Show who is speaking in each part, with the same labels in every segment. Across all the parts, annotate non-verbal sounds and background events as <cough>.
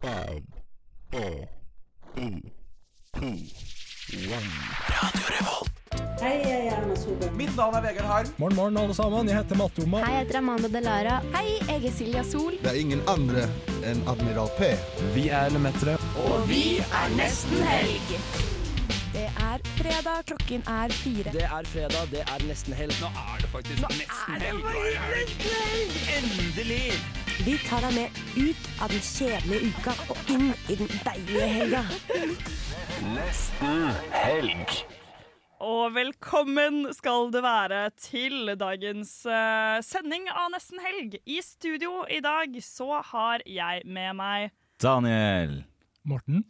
Speaker 1: Five, four, three, two, one.
Speaker 2: Hei, jeg er Erna Solberg.
Speaker 3: Mitt navn er Vegard Harm.
Speaker 4: Morgen, morgen, alle sammen. Jeg heter Matte Oma.
Speaker 5: Hei, jeg heter Amanda Delara. Hei, jeg er Silja Sol.
Speaker 6: Det er ingen andre enn Admiral P.
Speaker 5: Det er fredag, klokken er fire.
Speaker 3: Det er fredag, det er nesten helg. Nå er det faktisk nesten helg. Endelig!
Speaker 7: Vi tar deg med ut av den kjedelige uka og inn i den deilige helga.
Speaker 8: Og velkommen skal det være til dagens eh, sending av Nesten Helg. I studio i dag så har jeg med meg
Speaker 9: Daniel.
Speaker 4: Morten.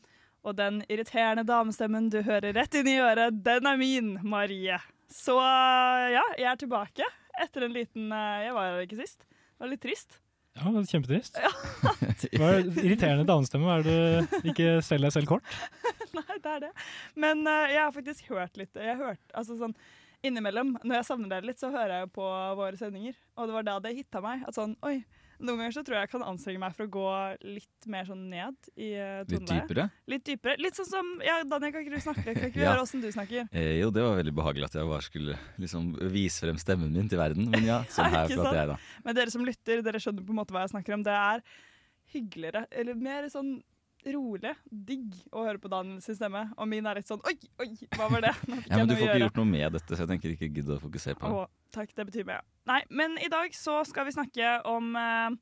Speaker 8: Og den irriterende damestemmen du hører rett inn i øret, den er min, Marie. Så eh, ja, jeg er tilbake etter en liten eh, Jeg var her ikke sist. Det var litt trist.
Speaker 4: Ja, det var kjempetrist. Hva er det- irriterende damestemme. Hva Er det du ikke selger deg selv kort?
Speaker 8: <laughs> Nei, det er det. Men eh, jeg har faktisk hørt litt. Jeg har hørt, altså sånn Innimellom, når jeg savner dere litt, så hører jeg jo på våre sendinger. Og det var da det hitta meg. At sånn, oi, Noen ganger så tror jeg jeg kan anstrenge meg for å gå litt mer sånn ned i eh,
Speaker 9: Litt
Speaker 8: toneleie.
Speaker 9: dypere?
Speaker 8: Litt dypere. Litt sånn som ja, Daniel, kan ikke du snakke litt? Kan ikke
Speaker 9: <laughs>
Speaker 8: vi
Speaker 9: Ja.
Speaker 8: høre åssen du snakker?
Speaker 9: Eh, jo, det var veldig behagelig at jeg bare skulle liksom, vise frem stemmen min til verden. Men ja, sånn her
Speaker 8: Ikke sant?
Speaker 9: prater jeg, da.
Speaker 8: Men dere som lytter, dere skjønner på en måte hva jeg snakker om. Det er hyggeligere, eller mer sånn rolig, digg å høre på Daniel sin stemme. Og min er litt sånn oi, oi, hva var det? Nå fikk
Speaker 9: Ja, men
Speaker 8: jeg
Speaker 9: du får
Speaker 8: noe å
Speaker 9: ikke
Speaker 8: gjøre.
Speaker 9: gjort noe med dette, så jeg tenker ikke gidde å fokusere på det.
Speaker 8: Å, takk, det betyr mye. Nei, men i dag så skal vi snakke om eh,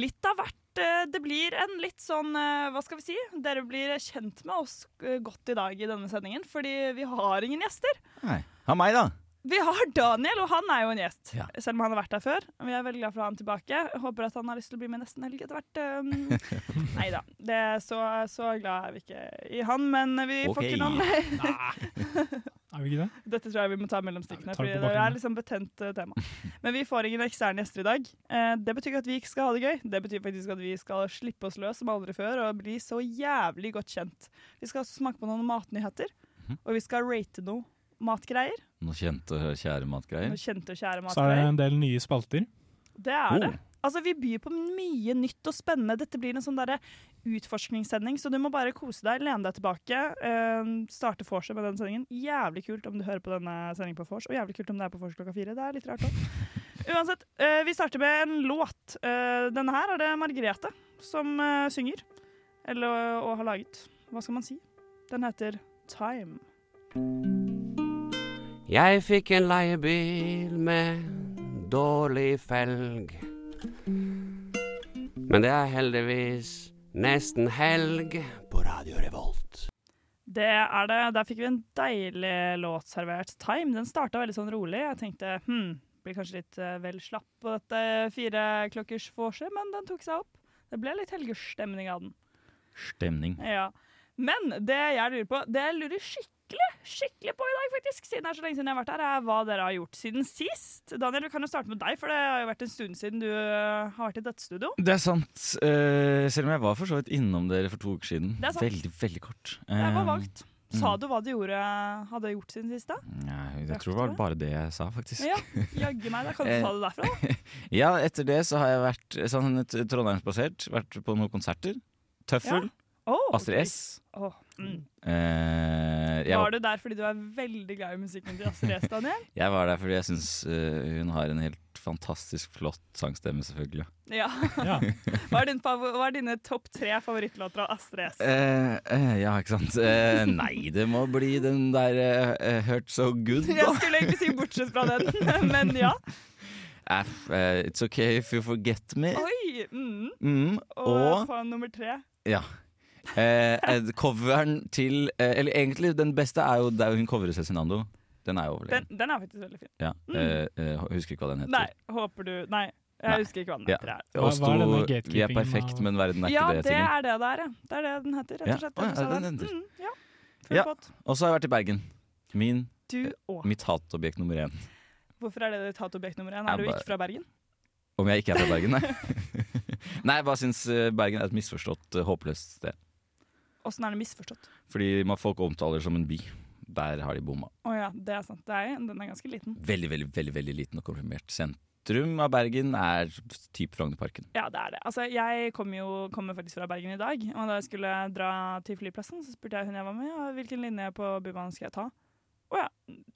Speaker 8: litt av hvert. Eh, Det blir en litt sånn, eh, hva skal vi si, dere blir kjent med oss eh, godt i dag i denne sendingen, fordi vi har ingen gjester.
Speaker 9: Nei. Ha meg, da!
Speaker 8: Vi har Daniel, og han er jo en gjest,
Speaker 9: Ja.
Speaker 8: selv om han har vært her før. Vi er veldig glad for å ha han tilbake. Jeg håper at han har lyst til å bli med nesten helg
Speaker 9: <laughs>
Speaker 8: etter hvert. Um, Nei da, det er så, så glad er vi ikke i han, men vi får
Speaker 9: Ok.
Speaker 8: ikke noen
Speaker 4: Er vi ikke det?
Speaker 8: Dette tror jeg vi må ta mellom
Speaker 4: Ja, vi
Speaker 8: stikkene,
Speaker 4: tar
Speaker 8: for
Speaker 4: det
Speaker 8: det
Speaker 4: på bakgrunnen.
Speaker 8: er liksom betent eh, tema. Men vi får ingen eksterne gjester i dag. Eh, Det betyr ikke at vi ikke skal ha det gøy. Det betyr faktisk at vi skal slippe oss løs som aldri før og bli så jævlig godt kjent. Vi skal også smake på noen matnyheter,
Speaker 4: Mhm.
Speaker 8: og vi skal rate noe matgreier.
Speaker 9: Noe kjent og kjære matgreier.
Speaker 8: Noe kjente og kjære
Speaker 4: Så er det
Speaker 8: matgreier.
Speaker 4: en del nye spalter.
Speaker 8: Det er det.
Speaker 9: Oh.
Speaker 8: Altså, vi byr på mye nytt og spennende. Dette blir en sånn derre utforskningssending, så du må bare kose deg, lene deg tilbake. eh, starte vorset med den sendingen. Jævlig kult om du hører på denne sendingen på vors, og jævlig kult om det er på vors klokka fire. Det er litt rart òg. Uansett, eh, vi starter med en låt. Eh, denne her er det Margrethe som eh, synger. Eller og har laget. Hva skal man si? Den heter Time.
Speaker 10: Jeg fikk en leiebil med dårlig felg. Men det er heldigvis nesten helg på Radio Revolt.
Speaker 8: Det er det. Der fikk vi en deilig låt servert. Time. Den starta veldig sånn rolig. Jeg tenkte hm, blir kanskje litt eh, vel slapp på dette fireklokkersvorset, men den tok seg opp. Det ble litt helgestemning av den.
Speaker 9: Stemning.
Speaker 8: Ja. Men det jeg lurer på, det jeg lurer skikkelig, skikkelig på i dag, faktisk, siden det er så lenge siden jeg har vært her, er hva dere har gjort siden sist. Daniel, vi kan jo starte med deg, for det har jo vært en stund siden du eh, har vært i dette studio.
Speaker 9: Det er sant. Eh, selv om jeg var for så vidt innom dere for to uker siden.
Speaker 8: Det er sant.
Speaker 9: Veldig, veldig kort.
Speaker 8: Det var
Speaker 9: Eh,
Speaker 8: vagt. Sa du hva du gjorde, hadde gjort siden sist? da?
Speaker 9: Nei, Eh, jeg tror det var bare det jeg sa, faktisk.
Speaker 8: Ja, jaggu meg. Da kan du
Speaker 9: Eh,
Speaker 8: ta det derfra. da.
Speaker 9: Ja, etter det så har jeg vært sånn, t- trondheimsbasert. Vært på noen konserter. Tøffel.
Speaker 8: Oh,
Speaker 9: Astrid S.
Speaker 8: Åh, mm.
Speaker 9: Eh, jeg,
Speaker 8: Var du der fordi du er veldig glad i musikken til Astrid S,
Speaker 9: <laughs>
Speaker 8: Daniel?
Speaker 9: jeg var der fordi jeg syns eh, hun har en helt fantastisk flott sangstemme, selvfølgelig.
Speaker 8: Ja.
Speaker 4: Ja.
Speaker 8: Hva er, din fav- hva er dine topp tre favorittlåter av Astrid S?
Speaker 9: Eh, eh, ja, ikke sant. Eh, nei, det må bli den der eh, eh, Hurt So Good, da.
Speaker 8: <laughs> Jeg skulle egentlig si bortsett fra den, <laughs> men ja.
Speaker 9: Eh, f- eh, it's Okay If You Forget Me.
Speaker 8: Oi! Mm.
Speaker 9: Mm,
Speaker 8: Og,
Speaker 9: og
Speaker 8: på nummer tre
Speaker 9: ja. Eh, eh, coveren til eh, Eller egentlig, den beste er jo der hun covrer Cezinando. Den er jo
Speaker 8: den,
Speaker 9: overlegen.
Speaker 8: den er faktisk veldig fin.
Speaker 9: Ja. Eh, eh, husker ikke hva den heter.
Speaker 8: Mm. Nei, håper du Nei, jeg
Speaker 9: Nei.
Speaker 8: husker ikke hva den
Speaker 9: Ja.
Speaker 8: heter. her.
Speaker 9: Og
Speaker 4: Hva- hva er denne
Speaker 9: sto, Vi er
Speaker 4: gatekeepingen
Speaker 9: perfekt,
Speaker 4: av-
Speaker 9: men verden er
Speaker 8: Ja,
Speaker 9: ikke det.
Speaker 8: det
Speaker 9: tingen.
Speaker 8: er det der, ja. Det er det den heter, rett
Speaker 9: Ja.
Speaker 8: og slett.
Speaker 9: Å, ja,
Speaker 8: Jeg sa
Speaker 9: den
Speaker 8: den.
Speaker 9: heter.
Speaker 8: Mm, ja. Full
Speaker 9: Ja.
Speaker 8: pott.
Speaker 9: Og så har jeg vært i Bergen. Min,
Speaker 8: Du òg.
Speaker 9: mitt hatobjekt nummer én.
Speaker 8: Hvorfor er det ditt hatobjekt nummer én?
Speaker 9: Jeg
Speaker 8: Er du
Speaker 9: bare-
Speaker 8: ikke fra Bergen?
Speaker 9: Om jeg ikke er fra Bergen, nei. <laughs> nei, jeg bare syns eh, Bergen er et misforstått, eh, håpløst sted.
Speaker 8: Åssen er det misforstått?
Speaker 9: Fordi man folk omtaler det som en by. Der har de bomma.
Speaker 8: Å ja, det er sant. Det er, den er ganske liten.
Speaker 9: Veldig, veldig, veldig veldig liten og komprimert. Sentrum sentrum av Bergen er typ Frognerparken.
Speaker 8: Ja, det er det. Altså, jeg kommer jo kommer faktisk fra Bergen i dag. Og da jeg skulle dra til flyplassen, så spurte jeg hun jeg var med, ja, hvilken linje på Bybanen skal jeg ta. Å ja,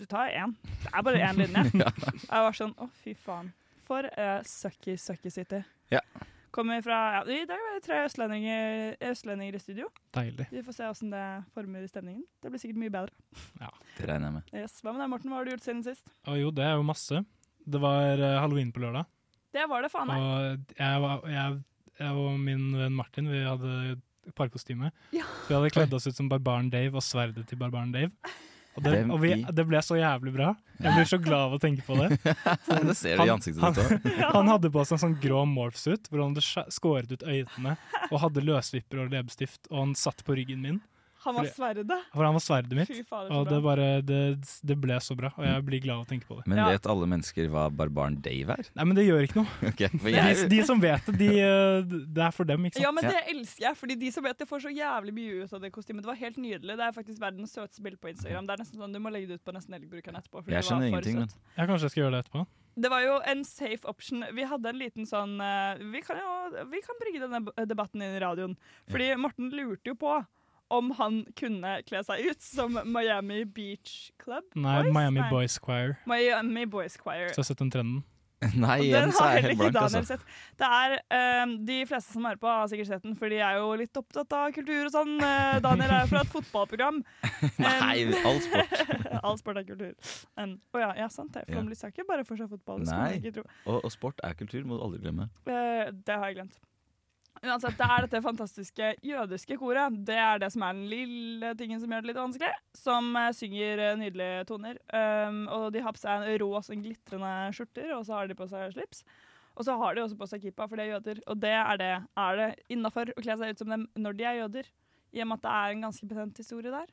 Speaker 8: du tar én. Det er bare én linje. Jeg var sånn å, fy faen. For uh, sucky, sucky city.
Speaker 9: Ja.
Speaker 8: Kommer fra ja, I dag var det tre østlendinger, østlendinger i studio.
Speaker 4: Deilig.
Speaker 8: Vi får se åssen det former stemningen. Det blir sikkert mye bedre.
Speaker 9: Det regner jeg med.
Speaker 8: Yes. Hva med deg, Morten? Hva har du gjort siden sist?
Speaker 4: Å jo, det er jo masse. Det var eh, halloween på lørdag,
Speaker 8: Det var det, faen meg.
Speaker 4: og jeg, var- jeg, jeg og min venn Martin vi hadde parkostyme.
Speaker 8: Ja.
Speaker 4: Så vi hadde kledd oss ut som Barbaren Dave og sverdet til Barbaren Dave. Og det,
Speaker 9: Hvem
Speaker 4: og vi,
Speaker 9: i-
Speaker 4: det ble så jævlig bra. Jeg blir så glad av å tenke på det.
Speaker 9: <laughs> Det ser du i
Speaker 4: Han-
Speaker 9: ansiktet ditt
Speaker 4: <laughs>
Speaker 9: òg.
Speaker 4: Han hadde på seg en sånn grå morphsuit hvor han hadde skjæ- skåret ut øynene og hadde løsvipper og leppestift, og han satt på ryggen min,
Speaker 8: Han var
Speaker 4: fordi-
Speaker 8: sverdet.
Speaker 4: for han var sverdet mitt.
Speaker 8: Fy fader, så
Speaker 4: Og det,
Speaker 8: bra.
Speaker 4: bare, det, det ble så bra, og jeg blir glad av å tenke på det.
Speaker 9: Men
Speaker 8: Ja.
Speaker 9: vet alle mennesker hva barbaren Dave er? <laughs>
Speaker 4: Nei, men det gjør ikke noe.
Speaker 9: Ok, for
Speaker 4: De,
Speaker 9: jeg,
Speaker 4: de som vet det, de, eh, det er for dem, ikke sant?
Speaker 8: Ja, men
Speaker 9: Ja.
Speaker 8: det elsker jeg, fordi de som vet det får så jævlig mye ut av det kostymet. Det var helt nydelig. Det er faktisk verdens søteste bilde på Instagram. Det er nesten sånn, Du må legge det ut på nesten elgbrukeren etterpå. fordi
Speaker 9: Jeg
Speaker 8: det var
Speaker 9: skjønner
Speaker 8: for
Speaker 9: ingenting, men-
Speaker 8: søtt.
Speaker 4: Ja, kanskje jeg skal gjøre det etterpå.
Speaker 8: Det var jo en safe option. Vi hadde en liten sånn eh, Vi kan jo vi kan bringe denne b- debatten inn i radioen. Fordi Morten lurte jo på om han kunne kle seg ut som Miami Beach Club.
Speaker 4: Nei,
Speaker 8: Boys?
Speaker 4: Miami
Speaker 8: Nei.
Speaker 4: Boys Choir.
Speaker 8: Miami Boys Choir.
Speaker 4: Så jeg har sett den trenden.
Speaker 9: nei, igjen
Speaker 8: den
Speaker 9: så
Speaker 8: har
Speaker 9: er jeg
Speaker 8: heller
Speaker 9: helt
Speaker 8: ikke
Speaker 9: blank,
Speaker 8: Daniel
Speaker 9: altså.
Speaker 8: sett. Det er, ehm, de fleste som hører på, har sikkert sett den, for de er jo litt opptatt av kultur og sånn. Eh, Daniel er jo fra et fotballprogram.
Speaker 9: <laughs> Nei,
Speaker 8: <laughs>
Speaker 9: all sport.
Speaker 8: All sport er kultur. Å ja, ja, sant det.
Speaker 9: Ja.
Speaker 8: Flåmlys er ikke bare for seg fotball. Det, skulle
Speaker 9: Nei.
Speaker 8: man ikke tro.
Speaker 9: <laughs> Og, og sport er kultur, må du aldri glemme.
Speaker 8: Eh, det har jeg glemt. Uansett, det er dette fantastiske jødiske koret. Det er det som er den lille tingen som gjør det litt vanskelig. Som eh, synger eh, nydelige toner. Um, og de har på seg en rå, sånn glitrende skjorter, og så har de på seg slips. Og så har de også på seg kippa, for de er jøder. Og det er det, er det innafor å kle seg ut som dem når de er jøder. I og med at det er en ganske betent historie der.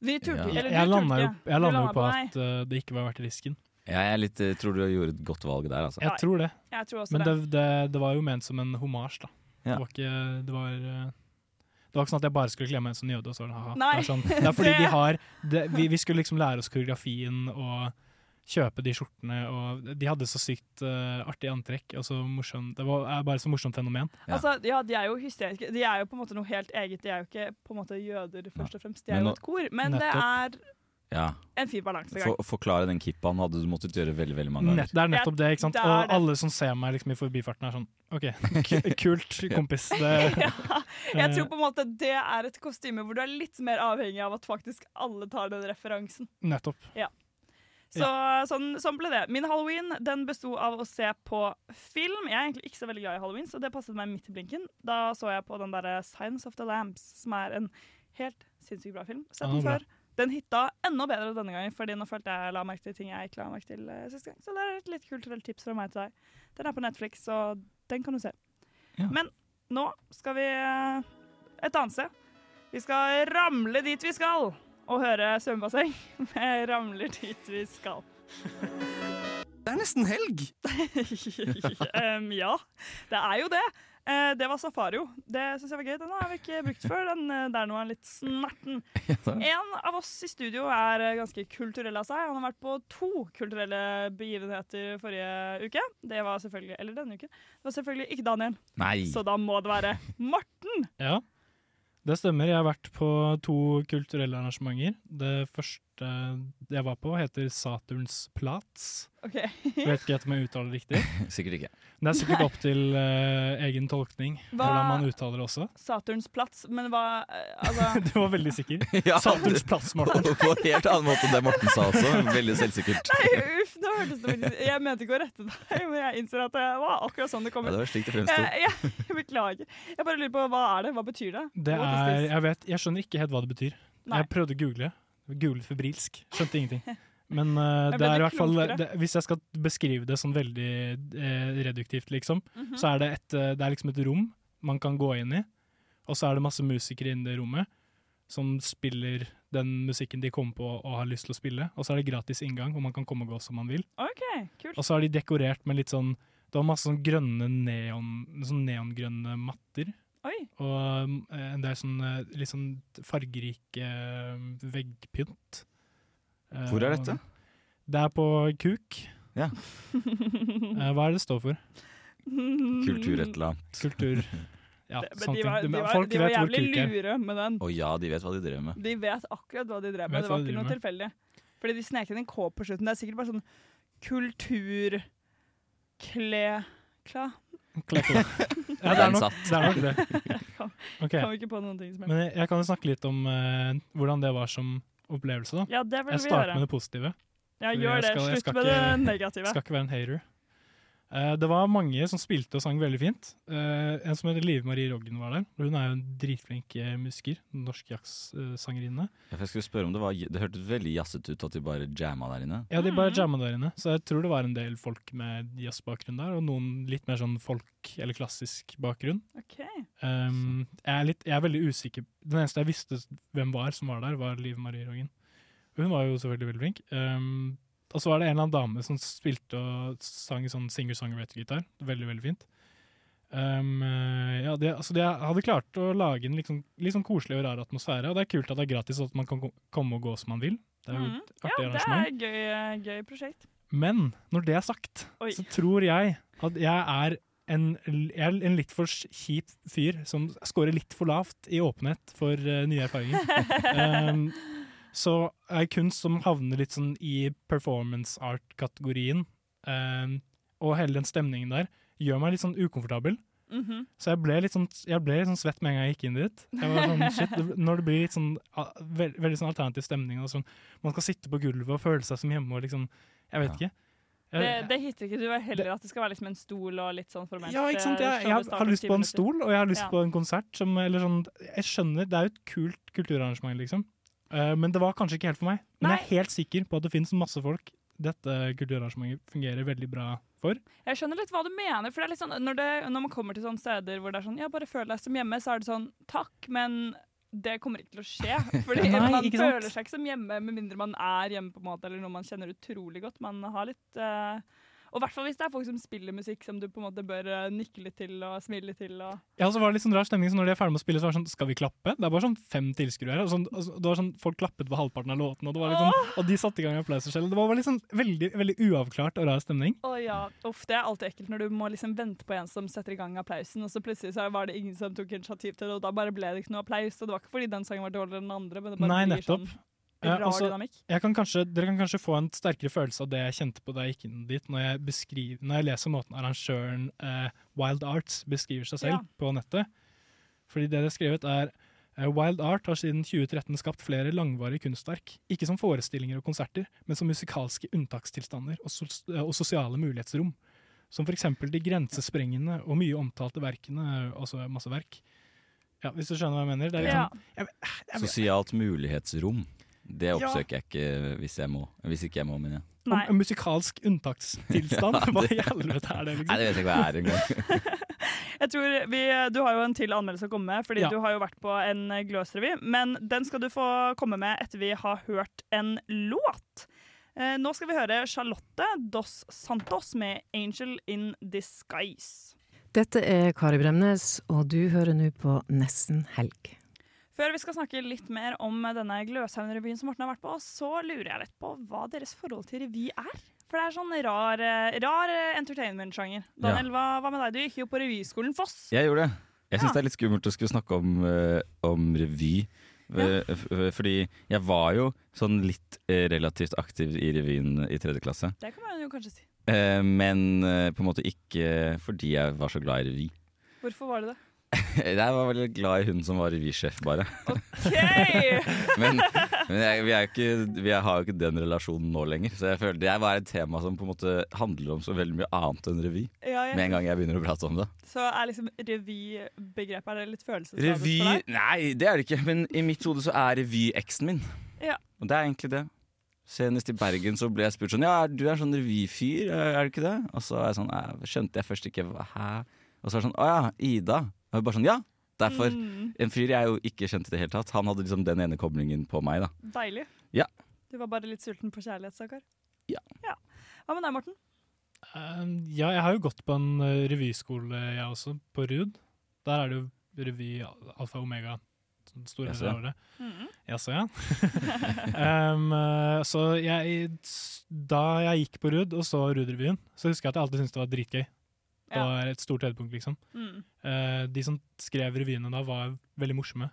Speaker 8: Vi turte
Speaker 9: Ja.
Speaker 8: ikke.
Speaker 4: Jeg,
Speaker 8: Eller
Speaker 4: jeg
Speaker 8: du
Speaker 4: landa
Speaker 8: turte
Speaker 4: jo,
Speaker 8: ikke.
Speaker 4: jeg landa
Speaker 8: Du
Speaker 4: jo
Speaker 8: landet
Speaker 4: på
Speaker 8: meg.
Speaker 4: at eh, det ikke var verdt risken.
Speaker 9: Ja, jeg er litt, eh, tror du gjorde et godt valg der, altså.
Speaker 4: Jeg
Speaker 8: Nei.
Speaker 4: tror det.
Speaker 8: Jeg tror også
Speaker 4: Men
Speaker 8: det.
Speaker 4: det, det, det var jo ment som en homasj, da.
Speaker 9: Ja.
Speaker 4: Det var ikke det var, eh, det var ikke sånn at jeg bare skulle kle meg ut som jøde. Og så, var det, haha.
Speaker 8: Nei,
Speaker 4: Det, er sånn, det er
Speaker 8: <laughs>
Speaker 4: fordi
Speaker 8: det-
Speaker 4: de har det, vi, vi skulle liksom lære oss koreografien og kjøpe de skjortene, og de hadde så sykt eh, artig antrekk. Og så morsom, det var, er bare så morsomt fenomen.
Speaker 9: Ja.
Speaker 8: Altså, ja, de er jo hysteriske. De er jo på en måte noe helt eget. De er jo ikke på en måte jøder, først og fremst. De er
Speaker 9: Men
Speaker 8: jo
Speaker 9: nå-
Speaker 8: et kor. Men det er
Speaker 9: Ja.
Speaker 8: en fin <laughs> balansegang.
Speaker 9: For, forklare den kippa han hadde du måttet gjøre veldig veldig mange
Speaker 4: Nett,
Speaker 9: ganger.
Speaker 4: det er nettopp det, ikke sant?
Speaker 8: Det er det.
Speaker 4: Og alle som ser meg liksom, i forbifarten, er sånn OK, <laughs> k- kult, kompis. <laughs> Det,
Speaker 8: Jeg tror på en måte det er et kostyme hvor du er litt mer avhengig av at faktisk alle tar den referansen.
Speaker 4: nettopp.
Speaker 8: Så sånn, sånn ble det. Min halloween den besto av å se på film. Jeg er egentlig ikke så veldig glad i halloween, så det passet meg midt i blinken. Da så jeg på den derre 'Science of the Lambs', som er en helt sinnssykt bra film. Sett den
Speaker 4: Ja, bra.
Speaker 8: før. Den hitta enda bedre denne gangen, fordi nå følte jeg la merke til ting jeg ikke la merke til eh, sist gang. Så det er et litt kulturelt tips fra meg til deg. Den er på Netflix, så den kan du se.
Speaker 9: Ja.
Speaker 8: Men nå skal vi eh, et annet sted. Vi skal ramle dit vi skal, og høre svømmebasseng med 'Ramler dit vi skal'.
Speaker 3: Det er nesten helg!
Speaker 8: <laughs> Em, ja, det er jo det. Eh, det var Safario. Det syns jeg var gøy. Den har vi ikke brukt før. Den eh, der nå er litt snerten. En av oss i studio er eh, ganske kulturell av seg. Han har vært på to kulturelle begivenheter forrige uke. Det var selvfølgelig Eller denne uken. Det var selvfølgelig ikke Daniel,
Speaker 9: Nei!
Speaker 8: så da må det være Morten.
Speaker 4: Ja, det stemmer. Jeg har vært på to kulturelle arrangementer. Det første jeg var på, heter Saturns Platz.
Speaker 8: OK.
Speaker 4: Jeg vet ikke om jeg uttaler det riktig.
Speaker 9: Sikkert ikke.
Speaker 4: Men det er sikkert opp til eh, egen tolkning
Speaker 8: Hva-
Speaker 4: hvordan man uttaler det også.
Speaker 8: Saturns plass, men hva eh, Altså
Speaker 4: Du var veldig sikker.
Speaker 9: <laughs> Ja,
Speaker 4: Saturns Platz, Morten.
Speaker 9: På en helt annen måte enn det Morten sa også. Veldig selvsikkert.
Speaker 8: Nei, <laughs> uff, nå hørtes det veldig Jeg mente ikke å rette deg, men jeg innser at det var akkurat sånn det kom
Speaker 9: Ja,
Speaker 8: ut.
Speaker 9: det var slik det fremsto.
Speaker 8: Jeg, jeg, <laughs> jeg beklager. Jeg bare lurer på, hva er det? Hva betyr det?
Speaker 4: Det
Speaker 8: What is
Speaker 4: er,
Speaker 8: this?
Speaker 4: jeg, vet, jeg skjønner ikke helt hva det betyr.
Speaker 8: Nei.
Speaker 4: Jeg prøvde å google. Googlet febrilsk. Skjønte
Speaker 8: <laughs>
Speaker 4: ingenting. Men eh,
Speaker 8: Jeg
Speaker 4: det
Speaker 8: ble
Speaker 4: er i
Speaker 8: litt
Speaker 4: hvert fall
Speaker 8: klokere.
Speaker 4: det, Hvis jeg skal beskrive det sånn veldig eh, reduktivt, liksom,
Speaker 8: Mhm.
Speaker 4: så er det, et, eh, det er liksom et rom man kan gå inn i. Og så er det masse musikere inne i det rommet som spiller den musikken de kommer på og har lyst til å spille. Og så er det gratis inngang, og man kan komme og gå som man vil.
Speaker 8: OK, kult.
Speaker 4: Og så er de dekorert med litt sånn Det var masse sånn grønne neon, sånn neongrønne matter.
Speaker 8: Oi.
Speaker 4: Og um, eh, en del sånn eh, litt sånn fargerik eh, veggpynt. Eh,
Speaker 9: Hvor er
Speaker 4: og-
Speaker 9: dette?
Speaker 4: Det er på Kuk.
Speaker 9: Ja.
Speaker 4: <laughs> Eh, Hva er det det står for?
Speaker 8: mm.
Speaker 9: Kultur et eller annet. <laughs>
Speaker 4: Kultur Ja,
Speaker 8: Men
Speaker 4: sånne
Speaker 8: de var,
Speaker 4: Sånn ting.
Speaker 8: de
Speaker 4: Men
Speaker 8: var,
Speaker 4: Folk
Speaker 8: de var
Speaker 4: vet hvor
Speaker 8: jævlig
Speaker 4: kuk er.
Speaker 8: lure med den.
Speaker 9: Å ja, de vet hva de drev med.
Speaker 8: De vet akkurat hva de drev
Speaker 4: Vet
Speaker 8: med. Det
Speaker 4: hva de
Speaker 8: var ikke
Speaker 4: driver
Speaker 8: noe
Speaker 4: med.
Speaker 8: tilfeldig. Fordi de snek inn en K på slutten. Det er sikkert bare sånn kultur... Kle... Kla?
Speaker 9: <laughs>
Speaker 4: Klekla. Ja, det er nok det. Er nok det. Ok,
Speaker 8: Kommer ikke på noen ting som
Speaker 4: Men jeg- jeg kan jo snakke litt om eh, hvordan det var som opplevelse, da.
Speaker 8: Ja, det vil
Speaker 4: Jeg
Speaker 8: vi gjøre.
Speaker 4: starter med det positive.
Speaker 8: Ja,
Speaker 4: Jeg
Speaker 8: gjør det.
Speaker 4: skal- jeg
Speaker 8: Slutt
Speaker 4: skal
Speaker 8: med det
Speaker 4: ikke-
Speaker 8: negative.
Speaker 4: Skal ikke være en hater. Eh, det var mange som spilte og sang veldig fint. Eh, en som heter Live Marie Roggen var der. og Hun er jo en dritflink eh, musiker. Norsk jazzsangerinne.
Speaker 9: Ja, for Jeg skulle spørre om Det var Det hørtes veldig jazzete ut at de bare jamma der inne.
Speaker 4: Ja, de
Speaker 8: Mm.
Speaker 4: bare jamma der inne, så jeg tror det var en del folk med jazzbakgrunn der, og noen litt mer sånn folk- eller klassisk bakgrunn.
Speaker 8: Ok.
Speaker 4: Um, jeg, er litt, jeg er veldig usikker. Den eneste jeg visste hvem var som var der, var Liv Marie Roggen. Hun var jo selvfølgelig veldig flink. Um, og så var det en eller annen dame som spilte og sang sånn singer-songwriter-gitar. Veldig, veldig fint. Um, eh, ja, det, altså de hadde klart å lage en litt sånn- litt sånn koselig og rar atmosfære, og det er kult at det er gratis, og at man kan ko- komme og gå som man vil. Det er jo
Speaker 8: Mhm.
Speaker 4: et
Speaker 8: Ja,
Speaker 4: artig
Speaker 8: det
Speaker 4: arrangement.
Speaker 8: er et gøy, eh, gøy prosjekt.
Speaker 4: Men når det er sagt,
Speaker 8: Oi.
Speaker 4: så tror jeg at jeg er en, jeg er en litt for kjip fyr som scorer litt for lavt i åpenhet for eh, nye
Speaker 8: <laughs>
Speaker 4: erfaringer. um, så er kunst som havner litt sånn i performance art-kategorien, um, og hele den stemningen der, gjør meg litt sånn ukomfortabel.
Speaker 8: Mhm.
Speaker 4: Så jeg ble litt sånn, jeg ble litt sånn svett med en gang jeg gikk inn dit. Jeg var sånn, shit, det- Når det blir litt sånn, ah, veld, veldig sånn alternativ stemning, og sånn, man skal sitte på gulvet og føle seg som hjemme, og liksom, jeg vet ikke. Jeg,
Speaker 8: Det, det hitter ikke. Du vil heller at det skal være liksom en stol og litt sånn formelt.
Speaker 4: ja, ikke sant?
Speaker 8: eh,
Speaker 4: Jeg,
Speaker 8: show
Speaker 4: jeg
Speaker 8: starter
Speaker 4: har
Speaker 8: om
Speaker 4: lyst
Speaker 8: ti
Speaker 4: på en
Speaker 8: minutter.
Speaker 4: stol, og jeg har lyst
Speaker 8: Ja.
Speaker 4: på en konsert. Som, eller sånn, jeg skjønner, det er jo et kult kulturarrangement, liksom. Eh, men det var kanskje ikke helt for meg. Men jeg er helt sikker på at det finnes masse folk dette kulturarrangementet fungerer veldig bra for.
Speaker 8: Jeg skjønner litt hva du mener. For det er litt sånn, når, det, når man kommer til sånne steder hvor det er sånn Ja, bare føl deg som hjemme, så er det sånn Takk, men det kommer ikke til å
Speaker 4: <laughs>
Speaker 8: skje. Fordi
Speaker 4: Nei,
Speaker 8: man
Speaker 4: ikke sant?
Speaker 8: føler seg ikke som hjemme med mindre man er hjemme, på en måte, eller noe man kjenner utrolig godt. Man har litt eh, Og i hvert fall hvis det er folk som spiller musikk som du på en måte bør eh, nikke litt til og smile litt til. Og
Speaker 4: Ja, så var det litt sånn rar stemning, så når de er ferdig med å spille, så var det sånn Skal vi klappe? Det er bare sånn fem tilskuere her. Og sånn, og så- det var sånn, folk klappet på halvparten av låten, og, det var litt sånn, og de satte i gang applauser selv. Det var bare litt sånn veldig, veldig uavklart og rar stemning.
Speaker 8: Å ja. Uff, det er alltid ekkelt når du må liksom vente på en som setter i gang applausen, og så plutselig så var det ingen som tok initiativ til det, og da bare ble det ikke noe applaus. Og det var ikke fordi den sangen var dårligere enn den andre, men det bare
Speaker 4: Nei,
Speaker 8: blir
Speaker 4: nettopp.
Speaker 8: sånn
Speaker 4: Ja,
Speaker 8: rar
Speaker 4: altså,
Speaker 8: dynamikk.
Speaker 4: jeg kan kanskje, dere kan kanskje få en sterkere følelse av det jeg kjente på da jeg gikk inn dit, når jeg, beskriver, når jeg leser måten arrangøren eh, Wild Arts beskriver seg selv
Speaker 8: Ja.
Speaker 4: på nettet. Fordi det det er skrevet er eh, Wild Art har siden 2013 skapt flere langvarige kunstverk, ikke som forestillinger og konserter, men som musikalske unntakstilstander og, sos eh, og sosiale mulighetsrom. Som for eksempel de grensesprengende og mye omtalte verkene, altså masse verk. Ja, hvis du skjønner hva jeg mener. Det er
Speaker 8: Ja.
Speaker 4: liksom, Jeg vet-
Speaker 9: Sosialt mulighetsrom. Det
Speaker 4: Ja.
Speaker 9: oppsøker jeg ikke hvis jeg må. Hvis ikke jeg må, men jeg.
Speaker 8: Nei.
Speaker 4: Om en musikalsk
Speaker 9: <laughs>
Speaker 4: unntakstilstand?
Speaker 9: Ja, det-
Speaker 4: Hva i helvete er
Speaker 9: Nei,
Speaker 4: det, liksom?
Speaker 9: det vet jeg ikke hva er engang.
Speaker 8: Jeg tror vi, Du har jo en til anmeldelse å komme med, fordi
Speaker 4: Ja.
Speaker 8: du har jo vært på en Gløs-revy. Men den skal du få komme med etter vi har hørt en låt. Eh, nå skal vi høre Charlotte Dos Santos med 'Angel in Disguise'.
Speaker 11: Dette er Kari Bremnes, og du hører nå på Nesten helg.
Speaker 8: Før vi skal snakke litt mer om denne Gløshaugen-revyen som Morten har vært på, så lurer jeg litt på hva deres forhold til revy er. For det er sånn rar, eh, rar eh, entertainment-sjanger. Daniel, hva, hva med deg? Du gikk jo på revyskolen Foss.
Speaker 9: Jeg gjorde det. Jeg syns
Speaker 8: Ja.
Speaker 9: det er litt skummelt å skulle snakke om, eh, om revy. Eh, f- f- Fordi jeg var jo sånn litt eh, relativt aktiv i revyen i tredje klasse.
Speaker 8: Det kan man jo kanskje si.
Speaker 9: Eh, Men eh, på en måte ikke fordi jeg var så glad i revy. <laughs>
Speaker 8: Hvorfor var det det?
Speaker 9: Jeg var veldig glad i hun som var revysjef, bare. <laughs>
Speaker 8: Ok!
Speaker 9: Men, men jeg, vi, er jo ikke, vi har jo ikke den relasjonen nå lenger. Så jeg føler det var et tema som på en måte handler om så veldig mye annet enn revy.
Speaker 8: Ja,
Speaker 9: Med
Speaker 8: ja.
Speaker 9: en gang jeg begynner å prate om det.
Speaker 8: Så er liksom revybegrepet er det litt følelsesladet
Speaker 9: Revy
Speaker 8: for deg?
Speaker 9: Nei, det er det ikke. Men i mitt hode så er revy eksen min.
Speaker 8: Ja.
Speaker 9: Og det er egentlig det. Senest i Bergen så ble jeg spurt sånn Ja, du er sånn revyfyr, er du ikke det? Og så er jeg sånn, «Æ, skjønte jeg først ikke hva- Hæ? Og så er det sånn Å ja, Ida. Og jeg bare sånn Ja, derfor.
Speaker 8: Mm,
Speaker 9: En fyr jeg jo ikke kjente i det hele tatt. Han hadde liksom den ene koblingen på meg, da.
Speaker 8: deilig.
Speaker 9: Ja.
Speaker 8: Du var bare litt sulten på kjærlighetssaker?
Speaker 9: Ja.
Speaker 8: Hva med deg, Morten?
Speaker 4: Um, Ja, jeg har jo gått på en eh, revyskole, jeg også, på Rud. Der er det jo revy al- alfa og omega Sånn Store
Speaker 9: Jaså,
Speaker 4: deler
Speaker 9: ja.
Speaker 4: av det.
Speaker 9: Mhm.
Speaker 8: Mm,
Speaker 4: Jaså, ja. <laughs> Em, eh, så jeg, da jeg gikk på Rud og så Rud-revyen, så husker jeg at jeg alltid syntes det var dritgøy. Det
Speaker 8: Ja.
Speaker 4: var et stort høydepunkt, liksom.
Speaker 8: Mm.
Speaker 4: Eh, de som skrev revyene da, var veldig morsomme.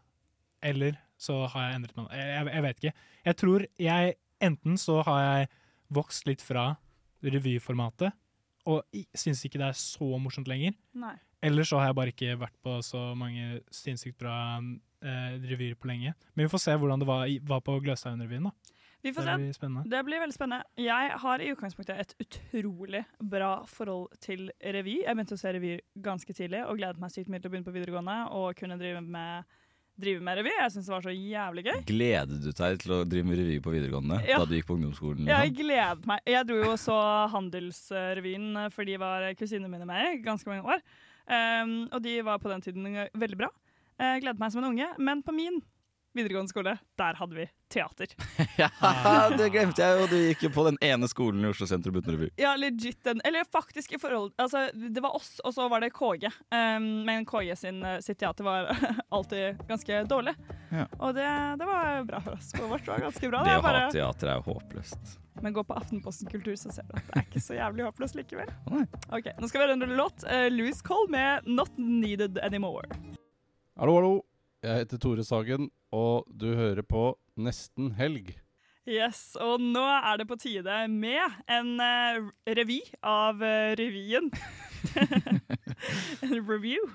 Speaker 4: Eller så har jeg endret meg. Jeg, jeg, jeg vet ikke. Jeg tror jeg Enten så har jeg vokst litt fra revyformatet, og i- syns ikke det er så morsomt lenger.
Speaker 8: Nei.
Speaker 4: Eller så har jeg bare ikke vært på så mange sinnssykt bra eh, revyer på lenge. Men vi får se hvordan det var, i- var på Gløshaugen-revyen, da.
Speaker 8: Vi
Speaker 4: det
Speaker 8: får se.
Speaker 4: blir spennende.
Speaker 8: Det blir veldig spennende. Jeg har i utgangspunktet et utrolig bra forhold til revy. Jeg begynte å se revy ganske tidlig og gledet meg sykt mye til å begynne på videregående og kunne drive med, drive med revy. Jeg syns det var så jævlig gøy.
Speaker 9: Gledet du deg til å drive med revy på videregående
Speaker 8: Ja.
Speaker 9: da du gikk på ungdomsskolen?
Speaker 8: Jeg
Speaker 9: liksom?
Speaker 8: gledet meg. Jeg dro jo og så Handelsrevyen, eh, for de var kusinene mine med i ganske mange år. Um, og de var på den tiden eh, veldig bra. Jeg gledet meg som en unge, men på min videregående skole, der hadde vi teater.
Speaker 9: Haha, <laughs> det glemte jeg jo! Du gikk jo på den ene skolen i Oslo sentrum uten revy.
Speaker 8: Ja, legit den. Eller faktisk i forhold Altså, det var oss, og så var det KG. Um, men KG sin, sitt teater var <laughs> alltid ganske dårlig.
Speaker 9: Ja.
Speaker 8: Og det, det var bra for oss. For vårt var ganske bra.
Speaker 9: Det
Speaker 8: er
Speaker 9: å ha
Speaker 8: bare-
Speaker 9: teater er jo håpløst.
Speaker 8: Men gå på Aftenposten kultur, så ser du at det er ikke så jævlig håpløst likevel.
Speaker 9: Nei.
Speaker 8: Ok, Nå skal vi høre en låt. Uh, Louis Cole med 'Not Needed Anymore'.
Speaker 12: Hallo, hallo. Jeg heter Tore Sagen, og du hører på Nesten helg.
Speaker 8: Yes, og nå er det på tide med en eh, revy av eh,
Speaker 9: <laughs>
Speaker 8: revyen. <laughs> en review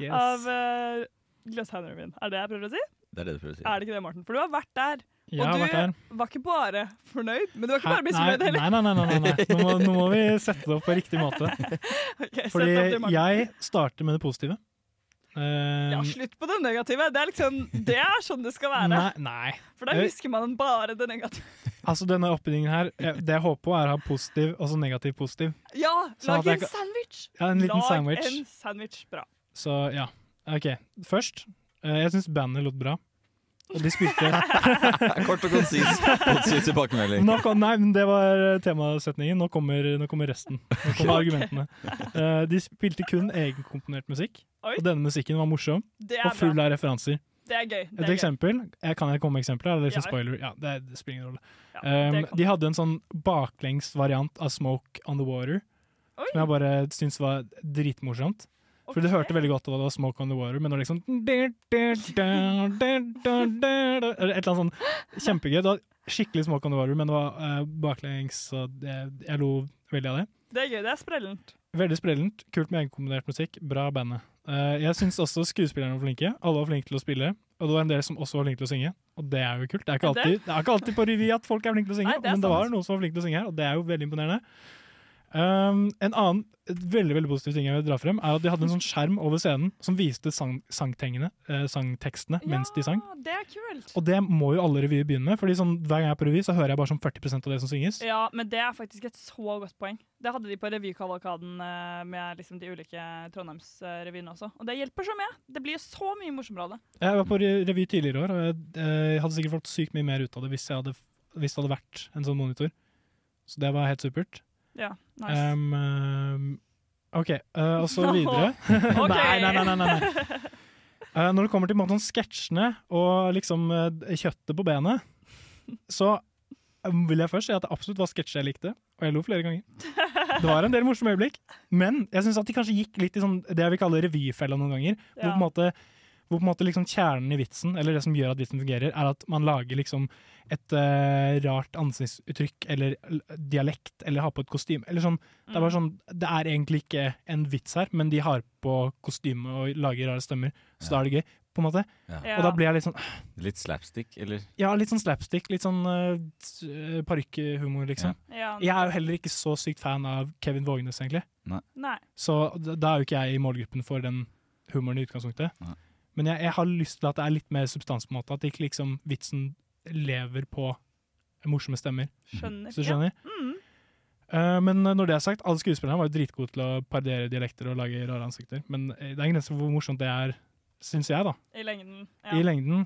Speaker 9: Yes.
Speaker 8: av uh, Gløshaugen-revyen. Er det jeg prøver å si?
Speaker 9: Det er det du prøver å si.
Speaker 8: Er det ikke det, Morten? For du har vært der.
Speaker 4: Jeg
Speaker 8: og
Speaker 4: har
Speaker 8: du
Speaker 4: vært der.
Speaker 8: var ikke bare fornøyd, men du var ikke bare
Speaker 4: nei,
Speaker 8: misfornøyd <laughs> heller.
Speaker 4: nei, nei, nei, nei, nei. Nå, må, nå må vi sette det opp på riktig måte.
Speaker 8: sett
Speaker 4: Fordi
Speaker 8: det opp til Morten.
Speaker 4: jeg starter med det positive. Eh,
Speaker 8: Ja, slutt på det negative. Det er liksom, det er sånn det skal være.
Speaker 4: Nei, nei.
Speaker 8: For da
Speaker 4: Eh,
Speaker 8: husker man bare det negative. <laughs>
Speaker 4: Altså Denne oppbyggingen her, eh, det jeg håper på, er å ha positiv og så negativ positiv.
Speaker 8: Ja,
Speaker 4: Sånn at
Speaker 8: lag
Speaker 4: jeg
Speaker 8: en
Speaker 4: kan-
Speaker 8: sandwich!
Speaker 4: Ja, en liten
Speaker 8: lag
Speaker 4: sandwich.
Speaker 8: en sandwich. Bra.
Speaker 4: Så ja, ok. Først, eh, jeg syns bandet låt bra. Og de spilte
Speaker 8: <laughs>
Speaker 9: Kort og konsis. Positiv tilbakemelding.
Speaker 4: Nå kom, nei, men det var eh, temasetningen. Nå kommer, nå kommer resten. Nå
Speaker 8: <laughs>
Speaker 4: kommer argumentene. Eh, de spilte kun egenkomponert musikk,
Speaker 8: Oi.
Speaker 4: og denne musikken var morsom
Speaker 8: Det er
Speaker 4: og full
Speaker 8: bra.
Speaker 4: av referanser.
Speaker 8: Det er gøy.
Speaker 4: Et
Speaker 8: Det er gøy.
Speaker 4: eksempel, jeg Kan jeg komme med eksempler? Eller
Speaker 8: Ja.
Speaker 4: liksom spoiler? Ja, det, er- det spiller ingen rolle.
Speaker 8: det
Speaker 4: Um,
Speaker 8: kan
Speaker 4: de hadde en sånn baklengs variant av Smoke on the Water, som jeg bare syntes var dritmorsomt. For du hørte veldig godt at det var Smoke on the Water, men det var liksom da, da, da, da, da, da, Eller et eller annet sånn kjempegøy. Det var skikkelig Smoke on the Water, men det var eh, baklengs, så det, jeg lo veldig av det.
Speaker 8: Det er gøy, det er sprellent.
Speaker 4: Veldig sprellent. Kult med egenkombinert musikk. Bra bandet. Eh, jeg syns også skuespillerne var flinke. Alle var flinke til å spille. Og det var en del som også var flinke til å synge, og det er jo kult. Det er ikke
Speaker 9: Ja, det-
Speaker 4: alltid, det er ikke alltid på revy at folk er flinke til å synge,
Speaker 9: Nei, det er
Speaker 4: men det var
Speaker 9: sant.
Speaker 4: noen som var flinke til å synge her, og det er jo veldig imponerende. Um, en annen et veldig veldig positiv ting jeg vil dra frem, er at de hadde en sånn skjerm over scenen som viste sang, sangtengene, eh, sangtekstene mens de sang.
Speaker 8: Det er kult.
Speaker 4: Og det må jo alle revyer begynne med, Fordi sånn, hver gang jeg er på revy, så hører jeg bare sånn 40 av det som synges.
Speaker 8: Ja, men det er faktisk et så godt poeng. Det hadde de på revykavalkaden eh, med liksom de ulike Trondheimsrevyene også. Og det hjelper så mye. Det blir så mye morsommere av det.
Speaker 4: Jeg var på re- revy tidligere i år, og jeg, eh, hadde sikkert fått sykt mye mer ut av det hvis, jeg hadde, hvis det hadde vært en sånn monitor. Så det var helt supert.
Speaker 8: Ja, nice.
Speaker 4: Em, em, OK, eh, og
Speaker 8: <laughs>
Speaker 4: så Ehm, videre.
Speaker 8: Ok.
Speaker 4: <laughs> nei, nei, nei, nei, nei. nei. Eh, når det kommer til på en måte sånn sketsjene og liksom eh, kjøttet på benet, så eh, vil jeg først si at det absolutt var sketsjer jeg likte, og jeg lo flere ganger. Det var en del morsomme øyeblikk, men jeg syns at de kanskje gikk litt i sånn, det jeg vil kalle revyfella noen ganger. Hvor
Speaker 13: Ja.
Speaker 4: på en måte, hvor på en måte liksom kjernen i vitsen, eller det som gjør at vitsen fungerer, er at man lager liksom et eh, rart ansiktsuttrykk eller l- dialekt, eller har på et kostyme. Eller sånn, det, er bare sånn, det er egentlig ikke en vits her, men de har på kostyme og lager rare stemmer, så da er det gøy. på en måte.
Speaker 9: Ja.
Speaker 4: Og da blir jeg litt sånn
Speaker 9: Litt slapstick, eller?
Speaker 4: ja, litt sånn slapstick, litt sånn eh, s- eh, parykkhumor, liksom.
Speaker 8: Ja.
Speaker 4: Jeg er jo heller ikke så sykt fan av Kevin Vågenes, egentlig.
Speaker 9: Nei.
Speaker 8: Nei.
Speaker 4: Så d- da er jo ikke jeg i målgruppen for den humoren i utgangspunktet. Men jeg, jeg har lyst til at det er litt mer substans, på en måte. At ikke liksom vitsen lever på morsomme stemmer.
Speaker 8: Skjønner.
Speaker 4: Så du skjønner?
Speaker 8: Ja. Mm.
Speaker 4: Eh, men når det er sagt, alle skuespillerne var jo dritgode til å parodiere dialekter og lage rare ansikter. Men eh, det er en grense for hvor morsomt det er, syns jeg, da
Speaker 8: I lengden.
Speaker 4: i lengden.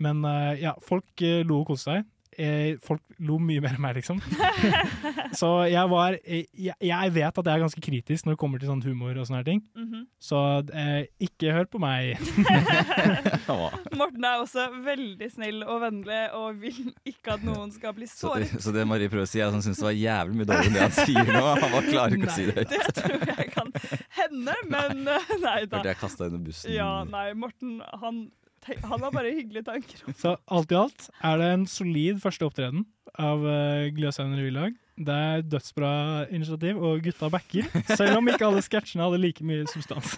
Speaker 4: Men eh, ja, folk eh, lo og koste seg. eh, Folk lo mye mer enn meg, liksom. så jeg var eh, jeg, jeg vet at jeg er ganske kritisk når det kommer til sånn humor og sånne her ting.
Speaker 8: Mhm.
Speaker 4: Så eh, ikke hør på meg.
Speaker 8: Morten er også veldig snill og vennlig og vil ikke at noen skal bli
Speaker 9: Så,
Speaker 8: såret. <laughs>
Speaker 9: så det Marie prøver å si, er at han syns det var jævlig mye dårligere enn det han sier nå. Han bare klarer ikke å si det høyt.
Speaker 8: Det tror jeg kan hende, men eh, <laughs> nei da.
Speaker 9: Hørte jeg kasta under bussen.
Speaker 8: Ja, nei, Morten, han, te- han har bare hyggelige tanker.
Speaker 4: Så alt i alt er det en solid første opptreden av uh, Gløshaugen revylag. Det er dødsbra initiativ, og gutta backer. Selv om ikke alle sketsjene hadde like mye substans.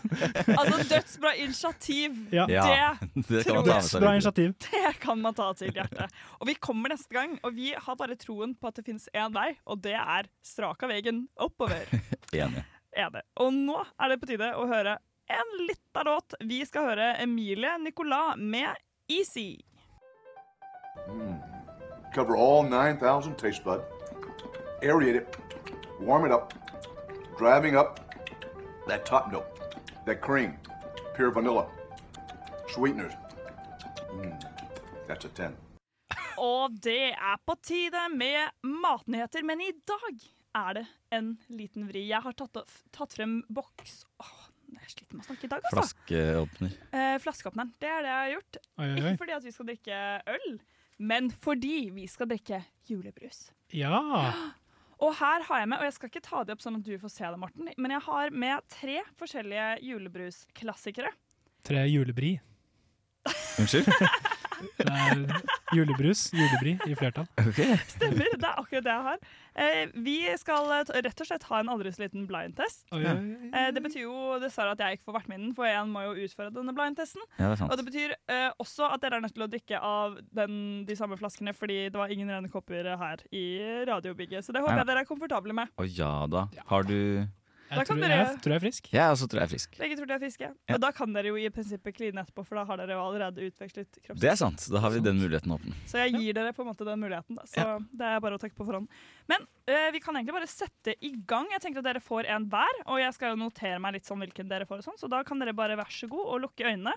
Speaker 8: Altså, dødsbra initiativ!
Speaker 4: <laughs> Ja. Ja,
Speaker 8: Det,
Speaker 4: det kan
Speaker 8: tror
Speaker 4: man ta med seg
Speaker 8: jeg-
Speaker 4: Dødsbra videre. initiativ.
Speaker 8: Det kan man ta til hjertet. Og vi kommer neste gang, og vi har bare troen på at det finnes én vei, og det er straka veien oppover.
Speaker 9: Enig.
Speaker 8: er det. Og nå er det på tide å høre en lita låt. Vi skal høre Emilie Nicolas med Easy.
Speaker 13: Cover all 9,000 taste bud. Aerate it. Warm it up. Driving up that top note, that cream, pure vanilla, sweeteners. Mm, that's a 10.
Speaker 8: Og det er på tide med matnyheter, men i dag er det en liten vri. Jeg har tatt, off- tatt frem boks Åh, jeg sliter med å snakke i dag, altså.
Speaker 9: Flaskeåpner.
Speaker 8: Eh, flaskeåpneren. Det er det jeg har gjort.
Speaker 9: Oi, oi, oi.
Speaker 8: Ikke fordi at vi skal drikke øl, men fordi vi skal drikke julebrus.
Speaker 4: Ja.
Speaker 8: Og her har jeg med, og jeg skal ikke ta de opp sånn at du får se det, Morten, men jeg har med tre forskjellige julebrusklassikere.
Speaker 4: Tre julebri.
Speaker 9: Unnskyld?
Speaker 4: Det er julebrus, julebri i flertall.
Speaker 8: Stemmer, det er akkurat det jeg har. Eh, vi skal eh, t- rett og slett ha en aldri så liten blindtest.
Speaker 4: Oi, oi, oi.
Speaker 8: Eh, det betyr jo dessverre at jeg ikke får vært med i den, for jeg må jo utføre denne blindtesten.
Speaker 9: Ja, det er sant.
Speaker 8: Og det betyr eh, også at dere er nødt til å drikke av den, de samme flaskene, fordi det var ingen rene kopper her i radiobygget. Så det håper
Speaker 9: Nei,
Speaker 8: jeg dere er komfortable med.
Speaker 9: Å ja da. Har du
Speaker 8: Da kan tror- dere- jeg
Speaker 4: tror jeg er frisk.
Speaker 9: Jeg også tror jeg er frisk.
Speaker 8: Begge tror dere er friske.
Speaker 9: Ja.
Speaker 8: Og da kan dere jo i prinsippet kline etterpå, for da har dere jo allerede utvekslet kroppsvæsker.
Speaker 9: Det er sant. Da har vi den muligheten åpen.
Speaker 8: Så jeg gir dere på en måte den muligheten. Da. Så det er bare å takke på forhånd. Men eh, vi kan egentlig bare sette i gang. Jeg tenkte at dere får en hver, og jeg skal jo notere meg litt sånn hvilken dere får og sånn, så da kan dere bare vær så god og lukke øynene.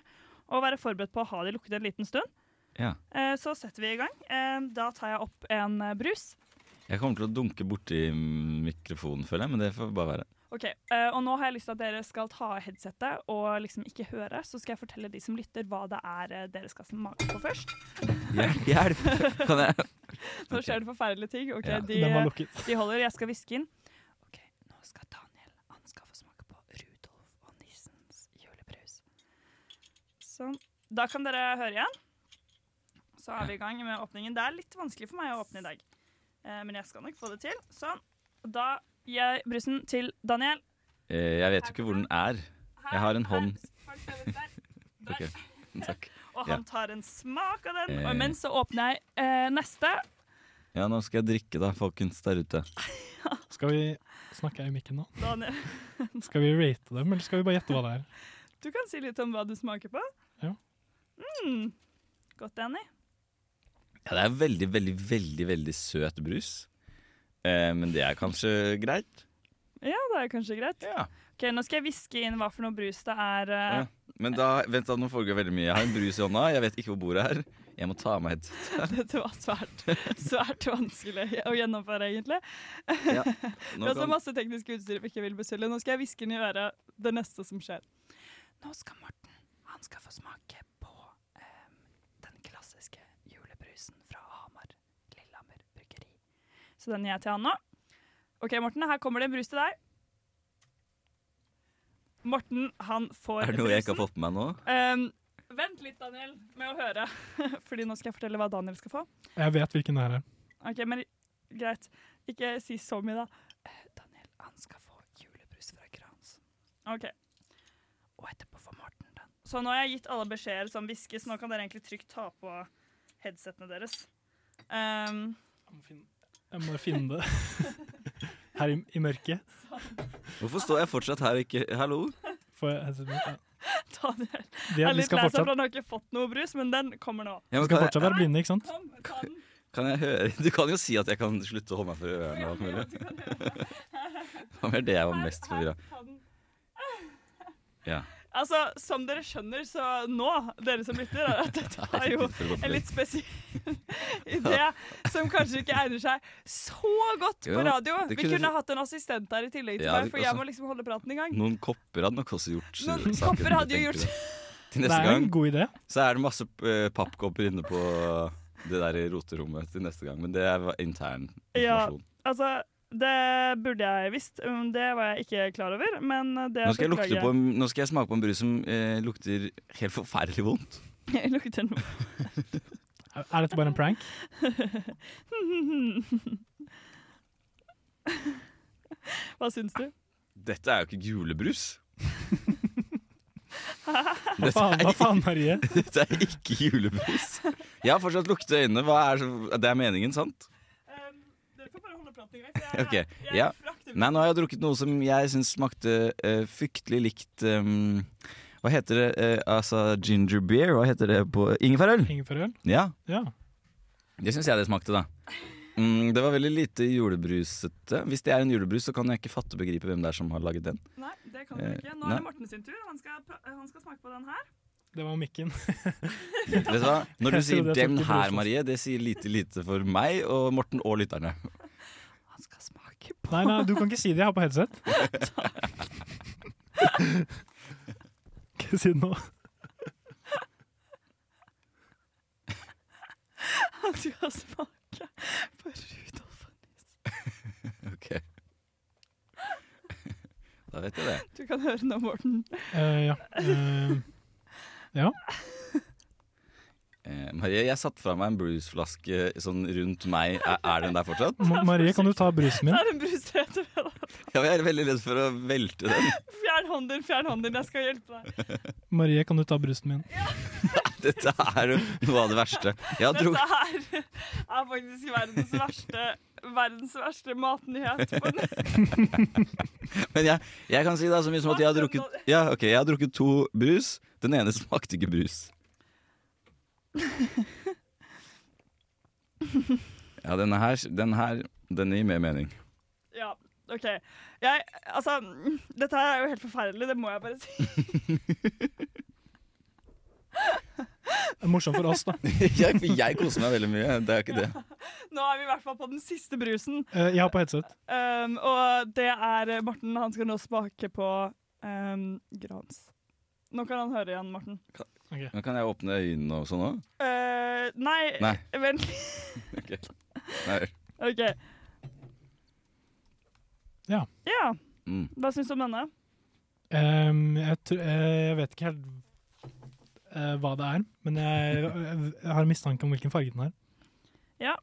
Speaker 8: Og være forberedt på å ha de lukket en liten stund.
Speaker 9: Ja.
Speaker 8: Eh, så setter vi i gang. Eh, da tar jeg opp en eh, brus.
Speaker 9: Jeg kommer til å dunke borti mikrofonen, føler jeg, men det får bare være.
Speaker 8: Ok, eh, og nå har jeg lyst til at dere skal ta av headsetet og liksom ikke høre, så skal jeg fortelle de som lytter hva det er eh, dere skal smake på først.
Speaker 9: Hjelp! hjelp. Kan jeg
Speaker 8: Nå skjer det forferdelige ting. Ok,
Speaker 9: Ja,
Speaker 8: de,
Speaker 9: den var lukket.
Speaker 8: de holder, jeg skal hviske inn. Ok, nå skal Daniel, han skal få smake på Rudolf og Nissens julebrus. Sånn. Da kan dere høre igjen. Så er vi i gang med åpningen. Det er litt vanskelig for meg å åpne i dag, eh, men jeg skal nok få det til. Sånn. Da gir jeg brusen til Daniel.
Speaker 9: Eh, Jeg vet jo ikke hvor den er. Jeg har en hånd <laughs> Ok, takk.
Speaker 8: Og
Speaker 9: Ja.
Speaker 8: han tar en smak av den.
Speaker 9: Eh.
Speaker 8: Og mens så åpner jeg eh, neste.
Speaker 9: ja, nå skal jeg drikke, da, folkens der ute.
Speaker 4: Skal vi Snakker jeg i mikken nå?
Speaker 8: Daniel,
Speaker 4: Skal vi rate dem, eller skal vi bare gjette hva det er?
Speaker 8: du kan si litt om hva du smaker på.
Speaker 4: Ja.
Speaker 8: Mm. Godt, Annie.
Speaker 9: Ja, det er veldig, veldig, veldig veldig søt brus. Eh, men det er kanskje greit.
Speaker 8: Ja, det er kanskje greit. Ok, Nå skal jeg hviske inn hva for noe brus det er. eh.
Speaker 9: Ja. Men da, vent da, nå foregår veldig mye. Jeg har en brus i hånda, jeg vet ikke hvor bordet er. Jeg må ta av meg headsetet.
Speaker 8: <laughs> Dette var svært, svært vanskelig å gjennomføre, egentlig.
Speaker 9: Ja,
Speaker 8: Vi
Speaker 9: nå
Speaker 8: har så
Speaker 9: kan-
Speaker 8: masse teknisk utstyr vi ikke vil beskylle. Nå skal jeg hviske inn i øret det neste som skjer. Nå skal Morten han skal få smake på eh, den klassiske julebrusen fra Hamar. Lillehammer bryggeri. Så den gir jeg til han nå. OK, Morten, her kommer det en brus til deg. Morten, han får
Speaker 9: Er det noe jeg
Speaker 8: brusen.
Speaker 9: ikke har fått med meg nå?
Speaker 8: Ehm, vent litt, Daniel, med å høre. <laughs> Fordi nå skal jeg fortelle hva Daniel skal få.
Speaker 4: Jeg vet hvilken det her er.
Speaker 8: Ok, men greit. Ikke si så mye, da. Eh, Daniel, han skal få julebrus fra Grans. OK. Og etterpå får Morten den. Så nå har jeg gitt alle beskjeder som hviskes. Nå kan dere egentlig trygt ta på headsettene deres. Ehm, <laughs>
Speaker 4: Jeg må finne det. <laughs> Her i, i mørket.
Speaker 9: Hvorfor står jeg fortsatt her og ikke Hallo?
Speaker 4: Får jeg headsetet mitt? Ja.
Speaker 8: Daniel
Speaker 9: vi
Speaker 8: er litt
Speaker 9: skal
Speaker 8: lei seg,
Speaker 9: fortsatt-
Speaker 8: for han har ikke fått noe brus, men den kommer nå.
Speaker 9: Ja, men
Speaker 4: Vi skal
Speaker 9: kan jeg-
Speaker 4: fortsatt være blinde, ikke sant?
Speaker 8: Kom, ta den.
Speaker 9: Kan jeg høre Du kan jo si at jeg kan slutte å holde meg for ørene og alt mulig. Det var mer det jeg var mest forvirra. Ja.
Speaker 8: Altså, som dere skjønner, så nå, dere som lytter, er at dette er jo en litt
Speaker 9: <laughs>
Speaker 8: spesiell idé som kanskje ikke egner seg så godt på
Speaker 9: Jo,
Speaker 8: radio.
Speaker 9: det
Speaker 8: Vi
Speaker 9: kunne-
Speaker 8: kunne hatt en assistent her i tillegg til
Speaker 9: Ja,
Speaker 8: meg,
Speaker 9: det-
Speaker 8: for jeg
Speaker 9: altså-
Speaker 8: må liksom holde praten i gang.
Speaker 9: Noen kopper hadde nok også gjort
Speaker 8: Noen
Speaker 9: saken,
Speaker 8: kopper hadde jo
Speaker 9: tenker
Speaker 8: gjort-
Speaker 9: jeg. Til
Speaker 4: Det
Speaker 9: neste
Speaker 4: er jo en
Speaker 9: gang
Speaker 4: god idé.
Speaker 9: Så er det masse eh, pappkopper inne på det der roterommet til neste gang. Men det er intern
Speaker 8: Ja,
Speaker 9: informasjon.
Speaker 8: altså, det burde jeg visst. Um, Det var jeg ikke klar over, men det
Speaker 9: Nå, skal jeg lukte
Speaker 8: beklager
Speaker 9: på, en- nå skal jeg smake på en brus som eh, lukter helt forferdelig vondt.
Speaker 8: Jeg <laughs> lukter noe.
Speaker 4: Er dette bare en prank?
Speaker 8: Hva syns du?
Speaker 9: Dette er jo ikke julebrus.
Speaker 4: <laughs> Hva faen, hva faen Marie?
Speaker 9: Dette er ikke <laughs> julebrus. Jeg har fortsatt lukte i øynene. Hva er, så- det er meningen, sant? Ok, ja. Nei, nå har jeg drukket noe som jeg syns smakte eh, fryktelig likt eh, Hva heter det? Eh, altså ginger beer? Hva heter det på Ingefærøl?
Speaker 4: Ingefærøl?
Speaker 9: Ja.
Speaker 4: Ja.
Speaker 9: Det syns jeg det smakte, da. Mm, det var veldig lite julebrusete. Hvis det er en julebrus, så kan jeg ikke fatte og begripe hvem det er som har laget den.
Speaker 8: Nei, det kan du
Speaker 9: Eh,
Speaker 8: ikke. Nå er
Speaker 9: nei.
Speaker 8: det Morten sin tur. Han skal, pr- han skal smake på den her.
Speaker 4: Det var mikken.
Speaker 9: Vet du hva? Når du
Speaker 4: Jeg trodde
Speaker 9: sier
Speaker 4: jeg
Speaker 9: 'den
Speaker 4: tok i
Speaker 9: her',
Speaker 4: brus.
Speaker 9: Marie, det sier lite lite for meg og Morten og lytterne.
Speaker 4: Nei, nei, du kan ikke si det. Jeg har på
Speaker 9: <laughs>
Speaker 4: headset. Ikke si det nå.
Speaker 8: <laughs> Han skal smake på Rudolf.
Speaker 9: Ok. Da vet jeg det.
Speaker 8: Du kan høre nå, Morten.
Speaker 4: Eh, ja. Eh, ja.
Speaker 9: Eh, Marie, jeg satte fra meg en brusflaske sånn rundt meg. Er, er den der fortsatt?
Speaker 4: Ma- Marie, kan du ta brusen min?
Speaker 8: <laughs> Det er en brustrete ved deg.
Speaker 9: Ja, men Jeg er veldig redd for å velte den.
Speaker 8: Fjern hånden din, fjern hånden din. Jeg skal hjelpe deg.
Speaker 4: Marie, kan du ta brusen min?
Speaker 9: Dette er jo noe av det verste. Jeg har drukket
Speaker 8: Dette her er faktisk verdens verste, verdens verste matnyhet. på nett.
Speaker 9: Men jeg, jeg kan si det er så mye som at jeg har drukket Ja, ok, jeg har drukket to brus. Den ene smakte ikke brus. Ja, denne her, den her denne gir mer mening.
Speaker 8: Ja, OK. Jeg, altså, mm, dette her er jo helt forferdelig, det må jeg bare si.
Speaker 4: Det er Morsomt for oss, da.
Speaker 9: Jeg, jeg koser meg veldig mye. Det er ikke det.
Speaker 8: Nå er vi i hvert fall på den siste brusen.
Speaker 4: Eh, jeg har på headset.
Speaker 8: Um, og det er eh, Morten. Han skal nå smake på um, Grans. Nå kan han høre igjen, Morten.
Speaker 9: Nå kan jeg åpne øynene og sånn òg.
Speaker 8: Eh, nei,
Speaker 9: Nei.
Speaker 8: vent
Speaker 9: Okay. Nei.
Speaker 8: OK.
Speaker 4: Ja.
Speaker 8: Ja.
Speaker 9: Mm.
Speaker 8: Hva syns du om denne?
Speaker 4: Ehm, jeg, tr eh, jeg vet ikke helt eh, hva det er, men jeg, jeg har en mistanke om hvilken farge den har.
Speaker 8: Ja,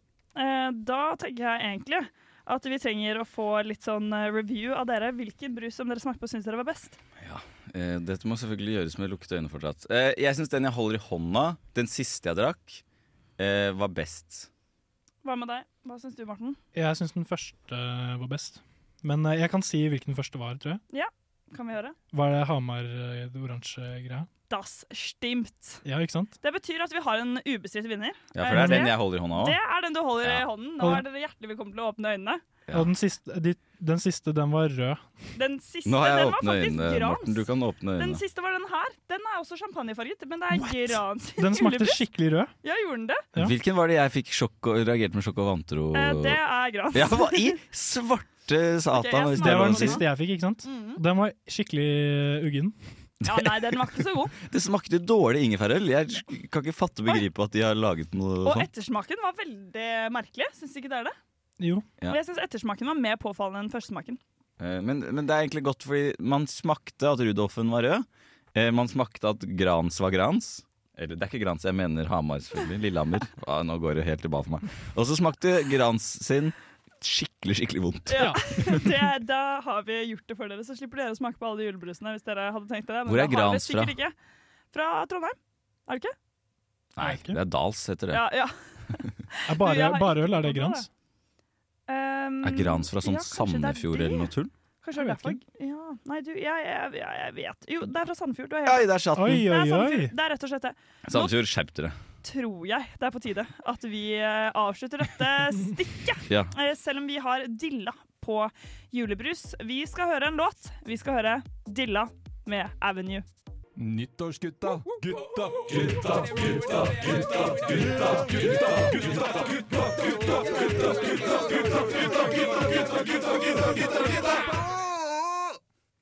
Speaker 8: eh, da tenker jeg egentlig at vi trenger å få litt sånn eh, review av dere. Hvilken brus som dere smakte på, syns dere var best?
Speaker 9: Eh, dette må selvfølgelig gjøres med lukkede øyne fortsatt. Eh, jeg syns den jeg holder i hånda, den siste jeg drakk, eh, var best.
Speaker 8: Hva med deg? Hva syns du, Morten?
Speaker 4: Jeg syns den første var best, men eh, jeg kan si hvilken den første var, tror jeg.
Speaker 8: Ja, kan vi høre?
Speaker 4: Var det Hamar eh, det oransje greia?
Speaker 8: Das stimmt.
Speaker 4: Ja, ikke sant?
Speaker 8: Det betyr at vi har en ubestridt vinner.
Speaker 4: Ja, for det er den
Speaker 8: dere?
Speaker 4: jeg holder i hånda også.
Speaker 8: Det er den du holder i hånden. Nå
Speaker 4: Og-
Speaker 8: er dere hjertelig velkommen til å åpne øynene.
Speaker 4: Og den siste, de, den siste, den var rød.
Speaker 8: Den siste,
Speaker 9: Nå har jeg
Speaker 8: den var
Speaker 9: åpne
Speaker 8: faktisk
Speaker 9: øynene,
Speaker 8: Grans.
Speaker 9: Morten. Du kan åpne
Speaker 8: Den
Speaker 9: øynene.
Speaker 8: siste var den her. Den er også champagnefarget, men det er Grans.
Speaker 4: Den smakte
Speaker 8: julebrus.
Speaker 4: skikkelig rød.
Speaker 8: Ja, gjorde den det?
Speaker 9: Hvilken var det jeg fikk sjokk og reagerte med sjokk og vantro?
Speaker 8: Eh, det er Grans.
Speaker 9: Ja, hva
Speaker 8: <laughs>
Speaker 9: i svarte
Speaker 8: Ok,
Speaker 9: satan?
Speaker 8: jeg
Speaker 9: hvis
Speaker 8: smaker
Speaker 4: Det var
Speaker 9: lov å
Speaker 4: den
Speaker 9: si.
Speaker 4: siste jeg fikk, ikke sant? Den var skikkelig uggen.
Speaker 8: Mm. Ja, nei, den var ikke så god.
Speaker 9: <laughs> Det smakte dårlig ingefærøl. Jeg kan ikke fatte og begripe at de har laget noe
Speaker 8: Og
Speaker 9: sånt.
Speaker 8: ettersmaken var veldig merkelig. Syns ikke dere det?
Speaker 4: Jo.
Speaker 9: Ja.
Speaker 8: Og jeg syns ettersmaken var mer påfallende enn førstesmaken. <laughs>
Speaker 9: Eh, Men, men det er egentlig godt, fordi man smakte at Rudolfen var rød. Eh, Man smakte at Grans var Grans. Eller det er ikke Grans, jeg mener Hamar, selvfølgelig.
Speaker 8: <laughs>
Speaker 9: Lillehammer. Ah, nå går det helt tilbake for meg. Og så smakte Grans sin skikkelig, skikkelig vondt.
Speaker 8: Ja. det, da har vi gjort det for dere, så slipper dere å smake på alle de julebrusene. hvis dere hadde tenkt det.
Speaker 9: Hvor er
Speaker 8: da har dere
Speaker 9: Grans fra?
Speaker 8: sikkert Ikke. Fra Trondheim. Er det ikke?
Speaker 9: Nei, det er Dals, heter det.
Speaker 8: Ja, ja.
Speaker 4: Er bare,
Speaker 8: Du, jeg
Speaker 4: bare
Speaker 8: har
Speaker 4: øl,
Speaker 8: ikke
Speaker 4: er det
Speaker 8: tenkt på
Speaker 4: Grans?
Speaker 8: Um,
Speaker 9: Er Grans fra sånn
Speaker 8: ja, kanskje det er
Speaker 9: Sandefjord
Speaker 8: det.
Speaker 9: eller noe tull?
Speaker 8: Kanskje det er derfor. Ja. Nei, du, jeg, jeg, jeg, jeg vet Jo, det er fra Sandefjord. Du har
Speaker 9: Oi,
Speaker 8: helt
Speaker 9: der satt den. Oi,
Speaker 8: Det
Speaker 9: oi,
Speaker 8: er Sandefjord.
Speaker 9: oi.
Speaker 8: Det er rett og slett det. Nå
Speaker 9: Sandefjord, skjerp dere.
Speaker 8: tror jeg det er på tide at vi eh, avslutter dette stikket.
Speaker 9: Ja.
Speaker 8: Eh, Selv om vi har dilla på julebrus. Vi skal høre en låt. Vi skal høre 'Dilla' med Avenue.
Speaker 14: Nyttårsgutta. Gutta, gutta, gutta, gutta, gutta, gutta, gutta, gutta, gutta, gutta, gutta, gutta, gutta, gutta, gutta, gutta, gutta, gutta.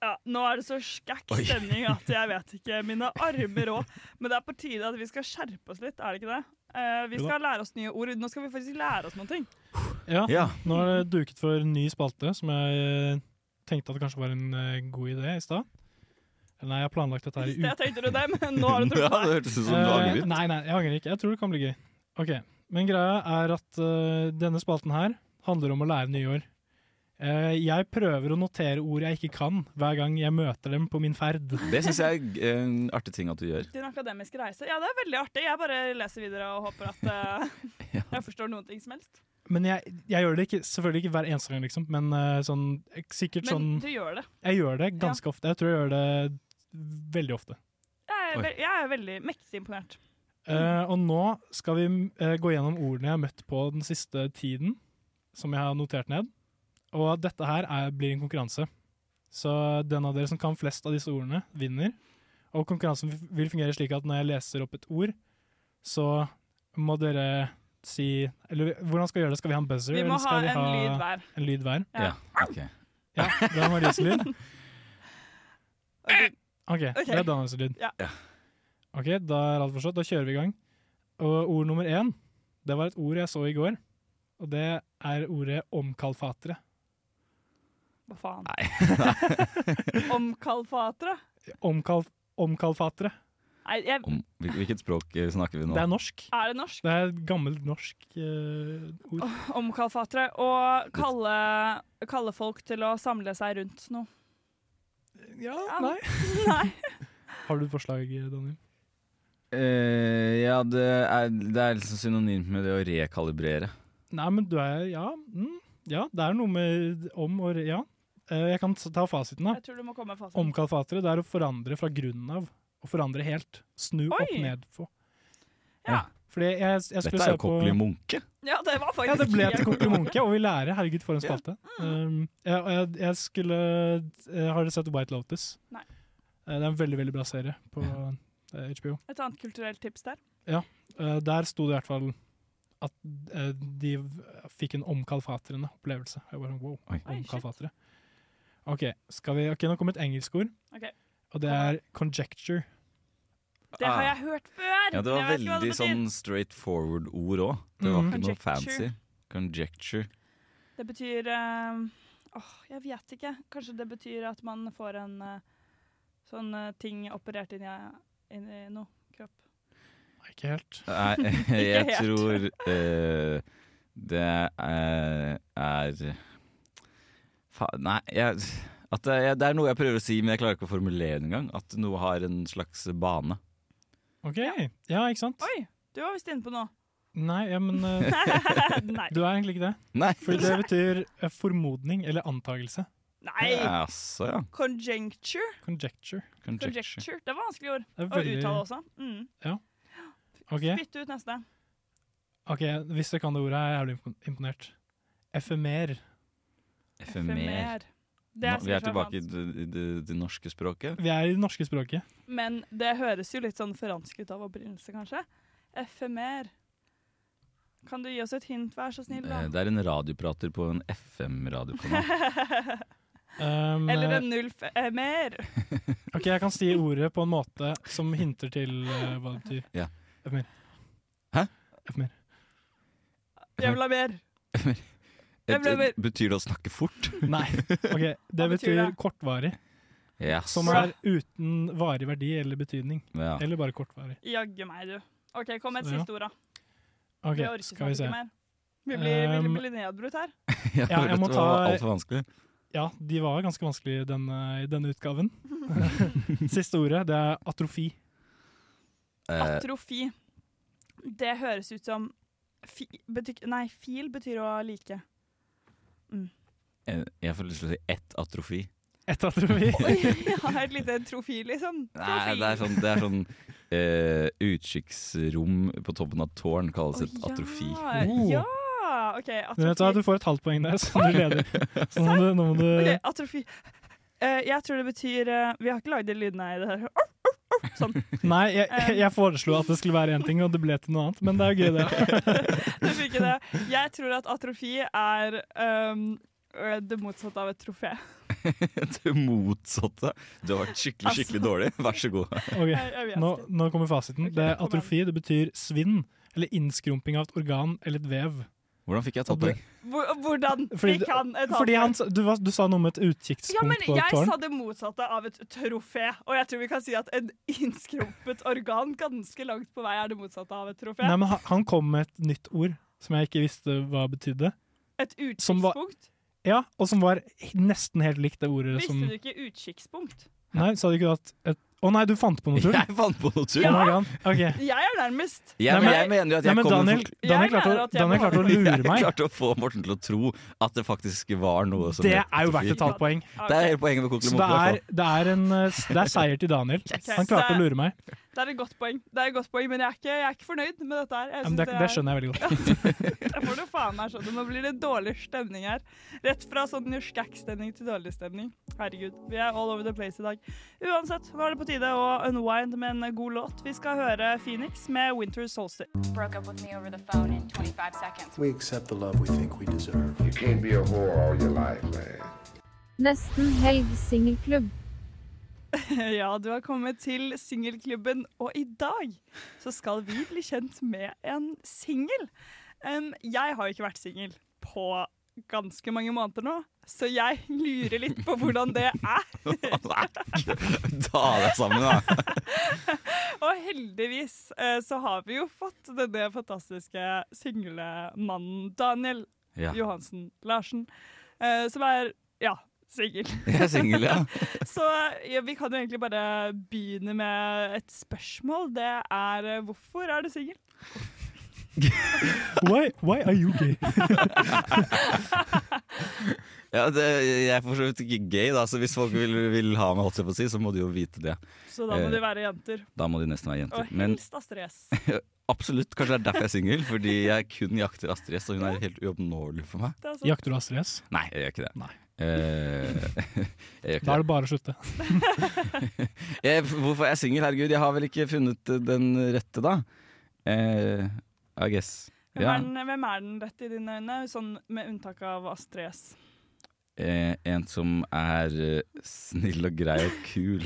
Speaker 8: Ja, nå er det så skækk stemning at jeg vet
Speaker 9: <laughs>
Speaker 8: ikke. Mine armer òg. Men det er på tide at vi skal skjerpe oss litt, er det ikke det? Eh, vi
Speaker 4: Jo da.
Speaker 8: skal lære oss nye ord. Nå skal vi faktisk lære oss noen ting.
Speaker 4: Ja, nå er det duket for ny spalte, som jeg eh, tenkte at kanskje var en eh, god idé i stad. Eller Nei, jeg har planlagt dette her i
Speaker 8: I sted tenkte du det, men nå
Speaker 9: <laughs>
Speaker 8: har du
Speaker 9: Ja,
Speaker 8: trodd
Speaker 9: det hørtes ut som du angrer
Speaker 4: Eh,
Speaker 9: litt.
Speaker 4: Nei, nei, jeg angrer ikke. Jeg tror det kan bli gøy. Ok, Men greia er at eh, denne spalten her handler om å lære nye ord. Eh, jeg prøver å notere ord jeg ikke kan, hver gang jeg møter dem på min ferd.
Speaker 9: Det syns jeg er en artig ting at du gjør.
Speaker 8: Din akademiske reise. Ja, det er veldig artig. Jeg bare leser videre og håper at
Speaker 9: <laughs>
Speaker 8: eh, jeg forstår noen ting som helst.
Speaker 4: Men jeg, jeg gjør det ikke, selvfølgelig ikke hver eneste gang, liksom, men eh, sånn, eh, sikkert
Speaker 8: Men
Speaker 4: sånn
Speaker 8: du gjør det.
Speaker 4: Jeg gjør det ganske ofte. Jeg tror jeg gjør det veldig ofte.
Speaker 8: Jeg er,
Speaker 4: Oi.
Speaker 8: ve jeg er veldig mektig imponert. Mm.
Speaker 4: Eh, og nå skal vi eh, gå gjennom ordene jeg har møtt på den siste tiden, som jeg har notert ned. Og dette her er, blir en konkurranse. Så den av dere som kan flest av disse ordene, vinner. Og konkurransen f- vil fungere slik at når jeg leser opp et ord, så må dere si Eller hvordan skal vi gjøre det? Skal vi ha en buzzer?
Speaker 8: Vi må
Speaker 4: eller skal
Speaker 8: ha en lyd hver.
Speaker 4: En lyd hver?
Speaker 8: Ja. Ja,
Speaker 9: ok.
Speaker 4: Ja, det er Maries lyd. OK, det er Daniels lyd.
Speaker 8: Ja.
Speaker 4: Ok, da er alt forstått. Da kjører vi i gang. Og ord nummer én, det var et ord jeg så i går. Og det er ordet omkalfatre.
Speaker 8: Hva faen?
Speaker 4: Nei.
Speaker 9: <laughs>
Speaker 8: Omkalfatre?
Speaker 4: Omkalf omkalfatre.
Speaker 8: Nei, jeg,
Speaker 9: Om, hvil- hvilket språk eh, snakker vi nå?
Speaker 4: Det er norsk.
Speaker 8: er det norsk?
Speaker 4: Det er et gammelt norsk eh, ord.
Speaker 8: Omkalfatre. Å kalle, kalle folk til å samle seg rundt noe. <laughs>
Speaker 4: Ja,
Speaker 8: nei.
Speaker 4: Har du et forslag, Daniel?
Speaker 9: Eh, ja, det er, det er liksom synonymt med det å rekalibrere.
Speaker 4: Nei, men du er Ja, mm, ja det er noe med om og re- Ja. Eh, jeg kan s- ta fasiten, da.
Speaker 8: Jeg tror du må komme med fasiten.
Speaker 4: Omkalfatre det er å forandre fra grunnen av. Å forandre helt. Snu opp
Speaker 8: Oi.
Speaker 4: ned på. Ja. Fordi jeg, jeg skulle
Speaker 9: Dette
Speaker 4: se
Speaker 9: er jo
Speaker 4: på-
Speaker 9: Kokkeli Munke.
Speaker 8: Ja, det var faktisk
Speaker 4: Ja, det ble til
Speaker 8: helt-
Speaker 4: Kokkeli Munke, og vi lærer. Herregud, for en spalte. Um, jeg, jeg, jeg skulle eh, Har dere sett White Lotus?
Speaker 8: Nei.
Speaker 4: Eh, Det er en veldig veldig bra serie på eh, HBO.
Speaker 8: Et annet kulturelt tips der.
Speaker 4: Ja, eh, Der sto det i hvert fall at eh, de v- fikk en omkalfatrende opplevelse. Jeg bare, sånn, wow, omkalfatre. Ok, skal vi, ok, Nå kommer et engelsk ord,
Speaker 8: Ok.
Speaker 4: og det er conjecture.
Speaker 8: Det har jeg hørt før!
Speaker 9: Ah. Ja, det
Speaker 8: men
Speaker 9: var
Speaker 8: jeg vet ikke hva det
Speaker 9: veldig
Speaker 8: betyr. Mm.
Speaker 9: sånn straight forward ord òg. Det var
Speaker 4: Mhm.
Speaker 9: ikke noe
Speaker 8: Conjecture.
Speaker 9: fancy. Conjecture.
Speaker 8: Det betyr eh, Åh, jeg vet ikke. Kanskje det betyr at man får en eh, sånn eh, ting operert inn i, inn i noe kropp.
Speaker 4: Ikke helt.
Speaker 9: Nei, <laughs> jeg tror eh, det er, er fa, Nei, jeg, at det, er- det er noe jeg prøver å si, men jeg klarer ikke å formulere det engang. At noe har en slags bane.
Speaker 4: Ok, ja, ikke sant?
Speaker 8: Oi, du var visst inne på noe. <laughs>
Speaker 4: Nei, ja, men eh,
Speaker 8: Nei.
Speaker 4: Du er egentlig ikke det.
Speaker 9: Nei.
Speaker 4: Fordi det
Speaker 8: <laughs>
Speaker 4: betyr eh, formodning eller antagelse.
Speaker 8: Nei!
Speaker 9: Jaså, <laughs> ja.
Speaker 8: Conjecture.
Speaker 4: Conjecture.
Speaker 8: Conjecture. Det var vanskelig ord
Speaker 4: Det er
Speaker 8: å
Speaker 4: veldig-
Speaker 8: uttale også. Mm.
Speaker 4: Ja. Ok,
Speaker 8: Bytt ut neste.
Speaker 4: ok, hvis dere kan det ordet, er jeg jævlig impon- imponert. Efemer.
Speaker 9: Efemer.
Speaker 8: E Det
Speaker 9: E.
Speaker 8: er
Speaker 9: Nå- Vi er
Speaker 8: sikkert fra
Speaker 9: tilbake i det, i det, det norske språket.
Speaker 4: Vi er i det norske språket.
Speaker 8: Men det høres jo litt sånn fransk ut av opprinnelse, kanskje. Efemer. Kan du gi oss et hint, vær så snill? da? <laughs>
Speaker 9: Eh, Det er en radioprater på en FM-radiokanal.
Speaker 4: Um,
Speaker 8: Eller en
Speaker 4: eh,
Speaker 8: null f- eh, mer.
Speaker 4: Ok, jeg kan si ordet på en måte som hinter til eh, hva det betyr.
Speaker 9: Ja.
Speaker 4: Efemer.
Speaker 9: Hæ?
Speaker 4: Efemer.
Speaker 8: Jeg vil ha mer.
Speaker 9: Et,
Speaker 8: Jeg ble-
Speaker 9: et, betyr det å snakke fort?
Speaker 4: Nei. Ok, det
Speaker 8: betyr
Speaker 4: betyr
Speaker 8: det?
Speaker 4: kortvarig.
Speaker 9: <laughs> Jaså.
Speaker 4: Som er uten varig verdi eller betydning.
Speaker 9: Ja.
Speaker 4: Eller bare kortvarig.
Speaker 8: Jaggu meg, du. OK, kom med et
Speaker 4: Så, ja.
Speaker 8: siste ord, da.
Speaker 4: Ok,
Speaker 8: vi orker
Speaker 4: skal vi
Speaker 8: snart
Speaker 4: se.
Speaker 8: ikke mer. Vi blir, vi
Speaker 4: Um,
Speaker 8: blir nedbrutt her.
Speaker 9: Ja,
Speaker 4: Ja,
Speaker 9: <laughs>
Speaker 4: jeg
Speaker 9: dette
Speaker 4: må
Speaker 9: var
Speaker 4: ta
Speaker 9: altfor vanskelig.
Speaker 4: Ja, de var ganske vanskelige i denne, i denne
Speaker 8: <laughs>
Speaker 4: utgaven. Siste ordet, det er atrofi.
Speaker 9: Eh,
Speaker 8: Atrofi. Det høres ut som fi, bety, Nei, fil betyr å like.
Speaker 9: <laughs> eh, jeg får lyst til å si ett atrofi.
Speaker 4: Ett atrofi?
Speaker 8: Oi, jeg har et lite trofi, liksom.
Speaker 9: Nei, det er sånn, det er sånn eh, utkikksrom på toppen av tårn kalles et atrofi. <laughs>
Speaker 8: Ja, ja, Ah, OK.
Speaker 4: Men vet du hva,
Speaker 8: Atrofi.
Speaker 4: du får et halvt poeng der, så du leder. Så nå må du, nå må du
Speaker 8: Ok, atrofi. Eh, jeg tror det betyr eh, Vi har ikke lagd de lydene i det her. <laughs> Sånn.
Speaker 4: Nei, jeg, jeg foreslo at det skulle være én ting, og det ble til noe annet. Men det er jo gøy,
Speaker 8: <laughs>
Speaker 4: det.
Speaker 8: Du fikk ikke det. Jeg tror at atrofi er um, det motsatte av et trofé.
Speaker 9: Det motsatte. Du har vært skikkelig skikkelig dårlig. Vær så god.
Speaker 4: Ok, Nå, nå kommer fasiten. Det er atrofi det betyr svinn eller innskrumping av et organ eller et vev.
Speaker 9: Hvordan fikk jeg tatt poeng?
Speaker 8: Hvor- Hvordan
Speaker 4: Fordi,
Speaker 8: fikk han et
Speaker 4: fordi han,
Speaker 8: halvt?
Speaker 4: sa- du, var- du sa noe om et utkikkspunkt
Speaker 8: Ja, men
Speaker 4: på et
Speaker 8: jeg
Speaker 4: tårn.
Speaker 8: sa det motsatte av et trofé, og jeg tror vi kan si at en <laughs> innskrumpet organ ganske langt på vei er det motsatte av et trofé.
Speaker 4: Nei, men han, han kom med et nytt ord som jeg ikke visste hva betydde.
Speaker 8: Et
Speaker 4: Som var-
Speaker 8: utkikkspunkt?
Speaker 4: Ja, og som var he- nesten helt likt det ordet
Speaker 8: Visste
Speaker 4: som
Speaker 8: du ikke utkikkspunkt?
Speaker 4: Nei, sa du ikke at et Å nei, du fant på noe,
Speaker 8: <laughs>
Speaker 4: tror
Speaker 9: <laughs> Jeg fant på noe tull.
Speaker 4: Oh my God. Ok.
Speaker 8: Jeg er nærmest.
Speaker 9: Jeg- men jeg mener jo at jeg
Speaker 4: nei, men
Speaker 9: kommer
Speaker 4: Daniel,
Speaker 9: fort-
Speaker 4: Daniel
Speaker 8: Jeg
Speaker 4: klarte
Speaker 8: mener
Speaker 4: å,
Speaker 8: at jeg
Speaker 4: Daniel klarte å lure
Speaker 9: sånn- <laughs> Jeg
Speaker 4: meg.
Speaker 9: klarte å få Morten til å tro at det faktisk var noe som
Speaker 4: Det
Speaker 9: het
Speaker 4: er jo verdt
Speaker 9: pedofil.
Speaker 4: et halvt poeng.
Speaker 9: Det er hele poenget med altså.
Speaker 4: Så
Speaker 9: Kokkeli
Speaker 4: det
Speaker 9: <laughs>
Speaker 4: er,
Speaker 9: Mokkeli.
Speaker 4: det, er en, eh, s- det er seier til Daniel.
Speaker 8: Ok,
Speaker 4: Han klarte
Speaker 8: det-
Speaker 4: å lure meg.
Speaker 8: Det er et godt poeng, det er et godt poeng men jeg er ikke, jeg er ikke fornøyd med dette her. Jeg
Speaker 4: Ja, men
Speaker 8: synes
Speaker 4: det, det skjønner jeg veldig godt.
Speaker 8: <laughs> Jeg får det faen meg sånn. Nå blir det dårlig stemning her. Rett fra sånn skækk-stemning til dårlig stemning. Herregud, vi er all over the place i dag. Uansett, nå er det på tide å unwind med en god låt. Vi skal høre Phoenix med 'Winter Solstice'.
Speaker 15: Broke up with me over the phone in 25 seconds.
Speaker 16: We accept the love we think we deserve. You can't be a whore all your life, man.
Speaker 17: Nesten helg singelklubb.
Speaker 8: <laughs> Ja, du har kommet til singelklubben, og i dag så skal vi bli kjent med en singel. Em, jeg har jo ikke vært singel på ganske mange måneder nå, så jeg lurer litt på hvordan det er. <laughs>
Speaker 9: Ta deg sammen,
Speaker 4: <laughs>
Speaker 9: da.
Speaker 8: Og heldigvis eh, så har vi jo fått denne fantastiske singlemannen Daniel
Speaker 9: Ja.
Speaker 8: Johansen Larsen, eh, som er ja, singel.
Speaker 9: Jeg er singel, ja.
Speaker 8: så ja, vi kan jo egentlig bare begynne med et spørsmål. Det er eh, hvorfor er du singel?
Speaker 4: Why, why are you
Speaker 8: <laughs>
Speaker 4: gay?
Speaker 9: Ja, det, jeg er for så vidt ikke gay, da, så hvis folk vil, vil ha meg, holdt jeg på å si, så må de jo vite det.
Speaker 8: Så da må
Speaker 9: Eh,
Speaker 8: de være jenter.
Speaker 9: Da må de nesten være jenter.
Speaker 8: Og helst Astrid S.
Speaker 9: absolutt, kanskje det er derfor jeg er singel, fordi jeg kun jakter Astrid S, og hun er helt uoppnåelig for meg.
Speaker 8: Det er altså- sant.
Speaker 4: Jakter du Astrid S?
Speaker 9: Nei, jeg gjør ikke det. Eh, <laughs> jeg gjør ikke
Speaker 4: Da er
Speaker 9: det.
Speaker 4: det bare å slutte.
Speaker 9: Jeg, hvorfor er jeg singel? Herregud, jeg har vel ikke funnet eh, den rette, da. Eh, I guess.
Speaker 8: Hvem,
Speaker 9: Ja.
Speaker 8: er den, hvem er den rett i dine øyne, sånn med unntak av Astrid S?
Speaker 9: <laughs> Eh, en som er eh, snill og grei og kul.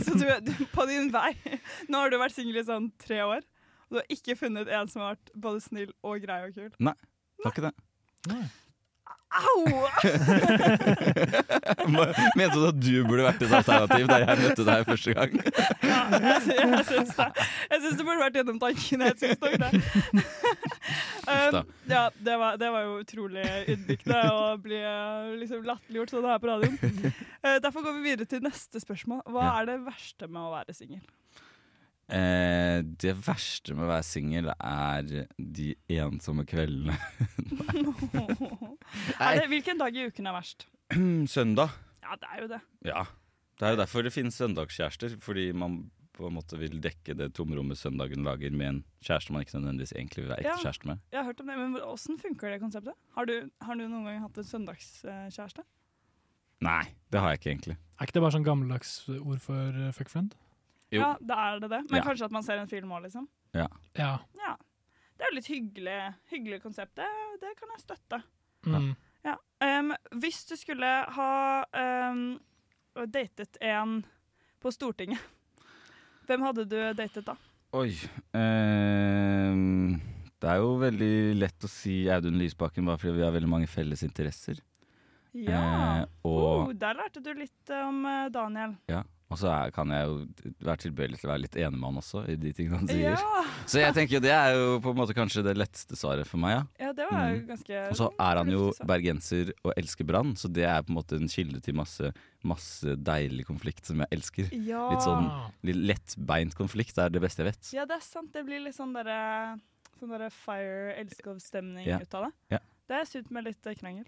Speaker 8: Så du, du, på din vei <laughs> Nå har du vært singel i sånn tre år, og du har ikke funnet en som har vært både snill og grei og kul.
Speaker 9: Nei, det var ikke det.
Speaker 8: Au!
Speaker 9: <laughs> Mente du at du burde vært et alternativ da jeg møtte deg første <laughs> gang?
Speaker 8: Jeg, sy- jeg syns det. Jeg syns det burde vært gjennomtankende. Jeg syns nok det.
Speaker 9: da.
Speaker 8: <laughs> Um, ja, det var, det var jo utrolig ydmykende å bli eh, liksom latterliggjort sånn her på radioen.
Speaker 9: <laughs>
Speaker 8: Eh, derfor går vi videre til neste spørsmål. Hva
Speaker 9: Ja.
Speaker 8: er det verste med å være
Speaker 9: <laughs>
Speaker 8: singel?
Speaker 9: Eh, det verste med å være singel er de ensomme kveldene.
Speaker 8: Er det- Hvilken dag i uken er verst?
Speaker 9: <clears throat> Søndag.
Speaker 8: Ja, det er jo det.
Speaker 9: Ja. Det er jo derfor det finnes søndagskjærester. Fordi man på en måte vil dekke det tomrommet søndagen lager med en kjæreste man ikke nødvendigvis egentlig vil være ekte kjæreste med.
Speaker 8: Jeg har hørt om det, men Hvordan funker det konseptet? Har du, har du noen gang hatt en søndagskjæreste?
Speaker 9: Nei, det har jeg ikke egentlig.
Speaker 4: Er ikke det bare sånn gammeldags ord for eh, fuck friend?
Speaker 9: Jo.
Speaker 8: Ja, da er det det. Men
Speaker 9: Ja.
Speaker 8: kanskje at man ser en film òg, liksom.
Speaker 9: Ja.
Speaker 4: Ja.
Speaker 8: Ja. Det er jo litt hyggelig, hyggelig konsept. Det, det kan jeg støtte.
Speaker 4: Mm.
Speaker 8: Ja. Em, hvis du skulle ha em, datet en på Stortinget, <laughs> hvem hadde du datet da?
Speaker 9: Oi. ehm, det er jo veldig lett å si Audun Lysbakken bare fordi vi har veldig mange felles interesser.
Speaker 8: Ja.
Speaker 9: Eh, og
Speaker 8: Oh, der lærte du litt eh, om eh, Daniel.
Speaker 9: ja. Og så er, kan jeg jo være tilbøyelig til å være litt enig med han også i de tingene han sier.
Speaker 8: Ja.
Speaker 9: Så jeg tenker jo det er jo på en måte kanskje det letteste svaret for meg, ja.
Speaker 8: Ja, det var jo
Speaker 9: Mm.
Speaker 8: ganske
Speaker 9: Og så er han jo
Speaker 8: fornuftig svar.
Speaker 9: bergenser og elsker brann, så det er på en måte en kilde til masse, masse deilig konflikt som jeg elsker.
Speaker 8: Ja.
Speaker 9: Litt sånn
Speaker 8: Ah.
Speaker 9: litt lettbeint konflikt er det beste jeg vet.
Speaker 8: Ja, det er sant. Det blir litt sånn derre sånn der fire elskov-stemning
Speaker 9: Ja.
Speaker 8: ut av det.
Speaker 9: Ja.
Speaker 8: Det er sunt med litt eh, krangel.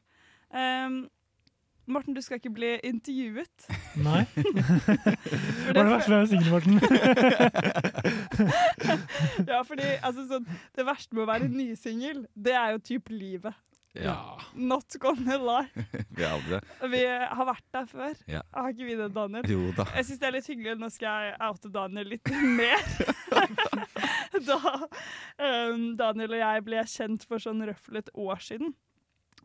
Speaker 8: Ehm, Morten, du skal ikke bli intervjuet.
Speaker 4: Nei. Hva er det verste med å være singel, Morten?
Speaker 8: ja, fordi altså, sånn, det verste med å være nysingel, det er jo typ livet.
Speaker 9: Ja.
Speaker 8: Not gonna lie.
Speaker 9: Vi er aldri det.
Speaker 8: Vi har vært der før.
Speaker 9: Ja.
Speaker 8: Har ikke vi det, Daniel?
Speaker 9: Jo da.
Speaker 8: Jeg syns det er litt hyggelig. Nå skal jeg oute Daniel litt mer. <laughs> da um, Daniel og jeg ble kjent for sånn røffelig et år siden.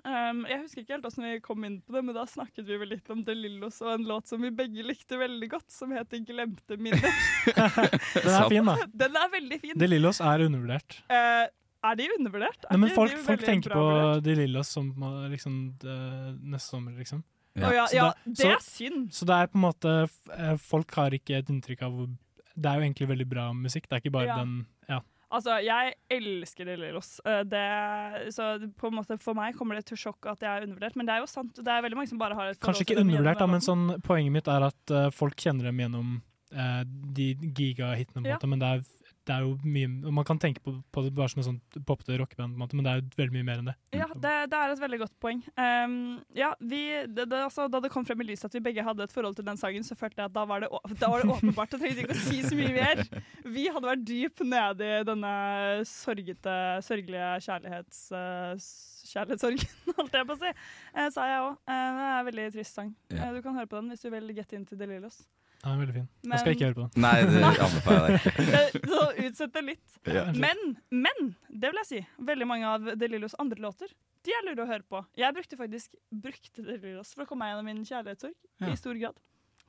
Speaker 8: Um, jeg husker ikke helt hvordan vi kom inn på det, men da snakket vi vel litt om De Lillos og en låt som vi begge likte veldig godt, som heter 'Glemte minner'.
Speaker 4: Den er fin, da.
Speaker 8: Den er veldig fin.
Speaker 4: De Lillos er undervurdert.
Speaker 8: Eh, er de undervurdert?
Speaker 4: Nei,
Speaker 8: Er
Speaker 4: men
Speaker 8: ikke
Speaker 4: folk,
Speaker 8: de
Speaker 4: folk
Speaker 8: veldig
Speaker 4: tenker
Speaker 8: bra
Speaker 4: på
Speaker 8: vurdert?
Speaker 4: De Lillos som eh, liksom, eh, neste sommer, liksom.
Speaker 8: Ja. Å ja, ja, det er
Speaker 4: synd. Så det er på en måte f- eh, Folk har ikke et inntrykk av hvor- Det er jo egentlig veldig bra musikk, det er ikke bare
Speaker 8: Ja.
Speaker 4: den Ja.
Speaker 8: Altså, jeg elsker De Lillos. Eh, Det, så det- på en måte for meg kommer det til sjokk at jeg er undervurdert, men det er jo sant. Det er veldig mange som bare har et forhold
Speaker 4: Kanskje
Speaker 8: til
Speaker 4: ikke
Speaker 8: dem altså- gjennom
Speaker 4: undervurdert, da,
Speaker 8: den
Speaker 4: men sånn, poenget mitt er at eh, folk kjenner dem gjennom eh, de gigahitene, på en
Speaker 8: Ja.
Speaker 4: måte, men det er, det er jo mye og Man kan tenke på, på det bare som et sånt poppete rockeband, på en måte, men det er jo veldig mye mer enn det.
Speaker 8: Ja, det, det er et veldig godt poeng. Ehm, ja, vi, det, det, altså, da det kom frem i lyset at vi begge hadde et forhold til den sangen, så følte jeg at da var det, å- da var det åpenbart. Jeg trengte ikke å si så mye mer. Vi hadde vært dyp nede i denne sorgete, sørgelige kjærlighets, eh, s- kjærlighetssorgen, <laughs> holdt jeg på å si. Eh, sa jeg òg. det er en veldig trist sang.
Speaker 9: Ja.
Speaker 8: Eh, du kan høre på den hvis du vil get into the Lillos.
Speaker 4: Den er veldig fin.
Speaker 8: Men-
Speaker 4: Jeg skal
Speaker 8: <laughs>
Speaker 4: ikke høre på den.
Speaker 9: <laughs> Nei, det anbefaler jeg deg ikke.
Speaker 8: Eh, Så utsett det litt.
Speaker 9: Ja.
Speaker 8: Men, men, det vil jeg si. Veldig mange av De Lillos andre låter de er lure å høre på. Jeg brukte faktisk brukte De Lillos for å komme meg gjennom min kjærlighetssorg.
Speaker 9: Ja.
Speaker 8: I stor grad.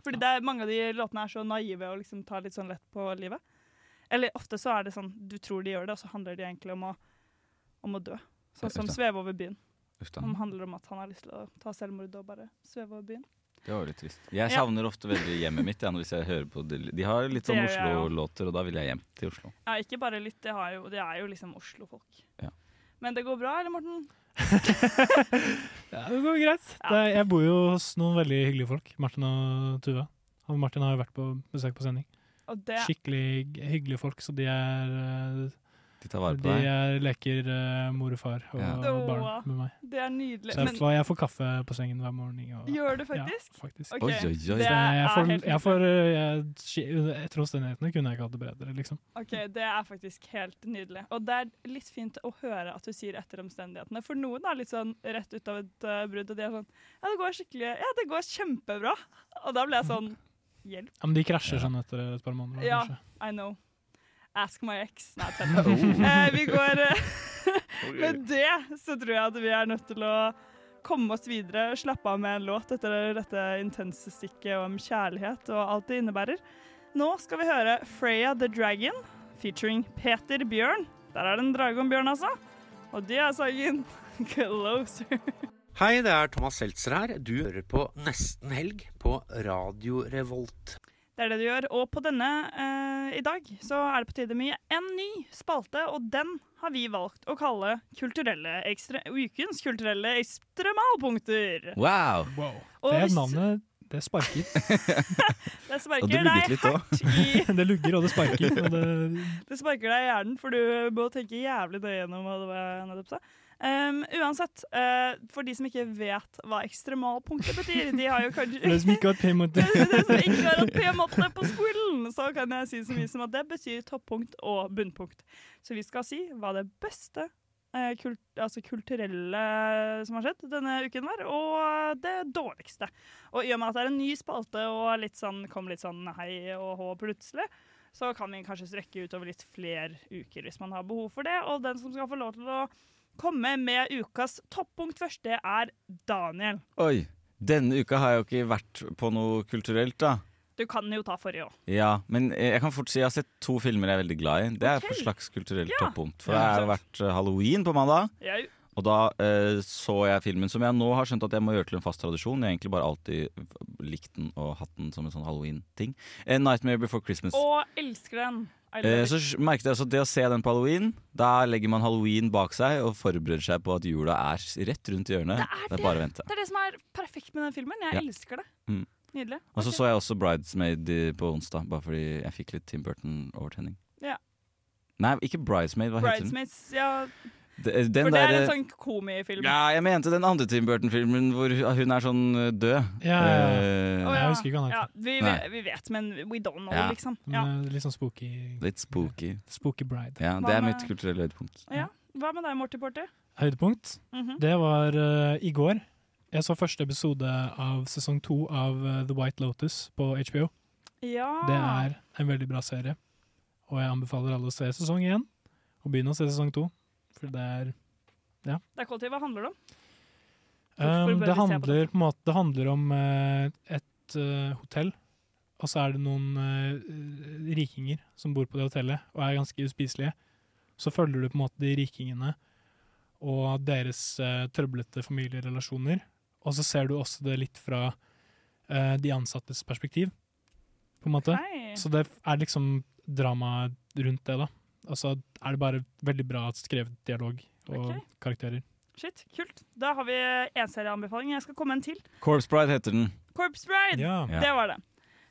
Speaker 8: Fordi det er, mange av de låtene er så naive og liksom tar litt sånn lett på livet. Eller ofte så er det sånn du tror de gjør det, og så handler de egentlig om å, om å dø. Sånn som
Speaker 9: Uff da.
Speaker 8: 'Sveve over byen'.
Speaker 9: Uff da.
Speaker 8: Som handler om at han har lyst til å ta selvmord og bare sveve over byen.
Speaker 9: Det var litt trist. Jeg
Speaker 8: Ja.
Speaker 9: savner ofte veldig hjemmet mitt. Jeg, hvis jeg hører på De De har litt sånn
Speaker 8: Det gjør jeg også.
Speaker 9: Oslo-låter, og da vil jeg hjem til Oslo.
Speaker 8: Ja, ikke bare litt, det, har jo, det er jo liksom Oslo-folk.
Speaker 9: Ja.
Speaker 8: Men det går bra, eller, Morten?
Speaker 4: <laughs> Ja, det går greit. Det, jeg bor jo hos noen veldig hyggelige folk, Martin og Tuva. Og Martin har jo vært på besøk på sending.
Speaker 8: Og det-
Speaker 4: Skikkelig g- hyggelige folk, så de er eh,
Speaker 9: De tar vare på
Speaker 4: de
Speaker 9: deg.
Speaker 4: er, leker eh, mor og far og
Speaker 9: Ja.
Speaker 8: Åh,
Speaker 4: barn med meg.
Speaker 8: Det er nydelig.
Speaker 4: Så jeg,
Speaker 8: Men-
Speaker 4: får, jeg får kaffe på sengen hver morgen. Og,
Speaker 8: Gjør du faktisk?
Speaker 4: Ja, faktisk.
Speaker 8: Ok, Oi, oi, oi.
Speaker 4: Så
Speaker 8: det
Speaker 4: jeg
Speaker 8: er
Speaker 4: får,
Speaker 8: helt
Speaker 4: jeg får, eh, jeg, ski- Etter omstendighetene kunne jeg ikke hatt det bedre, liksom.
Speaker 8: Ok, Det er faktisk helt nydelig. Og det er litt fint å høre at du sier etter omstendighetene. For noen er litt sånn rett ut av et eh, brudd, og de er sånn Ja, det går skikkelig Ja, det går kjempebra. Og da ble jeg sånn Hjelp.
Speaker 4: Ja, men de krasjer sånn etter et par måneder.
Speaker 8: Ja,
Speaker 4: kanskje.
Speaker 8: I know. Ask my ex. Nei, tull. Eh, vi går eh, Med det så tror jeg at vi er nødt til å komme oss videre, slappe av med en låt etter dette intense stikket om kjærlighet og alt det innebærer. Nå skal vi høre Freya the Dragon featuring Peter Bjørn. Der er det en drage om bjørn, altså. Og det er sangen <laughs> Closer.
Speaker 18: Hei, det er Thomas Seltzer her. Du hører på Nesten Helg på Radio Revolt.
Speaker 8: Det er det du gjør. Og på denne eh, i dag så er det på tide med en ny spalte, og den har vi valgt å kalle kulturelle ekstre, ukens kulturelle ekstremalpunkter.
Speaker 9: Wow!
Speaker 8: Og
Speaker 4: Det
Speaker 8: hvis-
Speaker 4: navnet, det sparker. <laughs>
Speaker 8: Det sparker deg hardt i
Speaker 4: det lugger, og det sparker. Og det,
Speaker 8: Det sparker deg i hjernen, for du må tenke jævlig nøye gjennom hva det var jeg nettopp sa. Um, uansett, eh, for de som ikke vet hva ekstremalpunkter betyr, de har jo kanskje
Speaker 4: for <laughs> det som ikke har p
Speaker 8: <laughs>
Speaker 4: mot det.
Speaker 8: Dere som ikke har hatt p-matte på skolen, så kan jeg si så mye som at det betyr toppunkt og bunnpunkt. Så vi skal si hva det beste eh, kul altså kulturelle som har skjedd denne uken var, og det dårligste. Og i og med at det er en ny spalte og litt sånn, kom litt sånn hei og hå plutselig, så kan vi kanskje strekke utover litt flere uker hvis man har behov for det. Og den som skal få lov til å komme med ukas toppunkt først, det er Daniel.
Speaker 9: Oi! Denne uka har jeg jo ikke vært på noe kulturelt, da.
Speaker 8: Du kan jo ta forrige òg.
Speaker 9: Ja, Men eh, jeg kan fort si jeg har sett to filmer jeg er veldig glad i. Det er på
Speaker 8: Ok.
Speaker 9: slags kulturelt
Speaker 8: Ja.
Speaker 9: toppunkt. For det
Speaker 8: Ja,
Speaker 9: har vært eh, halloween på mandag.
Speaker 8: Jau.
Speaker 9: Og da eh, så jeg filmen som jeg nå har skjønt at jeg må gjøre til en fast tradisjon. Jeg har egentlig bare alltid eh, likt den og hatt den som en sånn halloween-ting. Eh, 'Nightmare Before Christmas'.
Speaker 8: Og elsker den. I love
Speaker 9: Eh,
Speaker 8: it.
Speaker 9: så sj- merket jeg også at det å se den på halloween, da legger man halloween bak seg og forbereder seg på at jula er s- rett rundt hjørnet. Det er, bare å vente.
Speaker 8: Det er det som er perfekt med den filmen.
Speaker 9: Ja.
Speaker 8: Jeg elsker det.
Speaker 9: Mm.
Speaker 8: Nydelig.
Speaker 9: Og så så jeg også 'Bridesmaid' i- på onsdag, bare fordi jeg fikk litt Tim Burton-overtenning.
Speaker 8: Ja.
Speaker 9: Nei, ikke 'Bridesmaid', hva heter den?
Speaker 8: Bridesmaids, ja.
Speaker 9: D- Den
Speaker 8: For det er
Speaker 9: der- eh,
Speaker 8: en sånn komifilm.
Speaker 9: Ja, jeg mente den andre Tim Burton-filmen hvor hun er sånn eh, død.
Speaker 4: Ja, ja, ja.
Speaker 9: Eh,
Speaker 8: Å, ja. Ja, vi, ve-
Speaker 9: Nei.
Speaker 8: vi vet, men we don't know,
Speaker 9: Ja.
Speaker 8: liksom.
Speaker 4: Men,
Speaker 8: Ja.
Speaker 4: eh, Litt sånn spooky.
Speaker 9: Litt spooky.
Speaker 4: Spooky bride.
Speaker 9: Ja,
Speaker 8: Hva
Speaker 9: det er
Speaker 8: med-
Speaker 9: mitt kulturelle høydepunkt.
Speaker 8: ja. Hva med deg, Morty Mhm. Porter?
Speaker 4: Høydepunkt.
Speaker 8: Mm.
Speaker 4: Det var eh, i går. Jeg så første episode av sesong to av eh, The White Lotus på HBO.
Speaker 8: Ja.
Speaker 4: Det er en veldig bra serie, og jeg anbefaler alle å se sesong én, og begynne å se sesong to, for det er Ja.
Speaker 8: Det er kvalitet. Hva handler det om? Hvorfor
Speaker 4: Um, det,
Speaker 8: bør vi se på
Speaker 4: handler, på en måte, det handler om eh, et eh, hotell, og så er det noen eh, rikinger som bor på det hotellet og er ganske uspiselige. Så følger du på en måte de rikingene og deres eh, trøblete familierelasjoner, og så ser du også det litt fra eh, de ansattes perspektiv, på en måte.
Speaker 8: Ok.
Speaker 4: Så det er liksom drama rundt det, da. Og så er det bare veldig bra skrevet dialog og
Speaker 8: Ok.
Speaker 4: karakterer.
Speaker 8: Shit, kult. Da har vi en serieanbefaling. Jeg skal komme en til.
Speaker 9: Corpse Bride heter den.
Speaker 8: Corpse Bride!
Speaker 9: Ja.
Speaker 8: Det var det.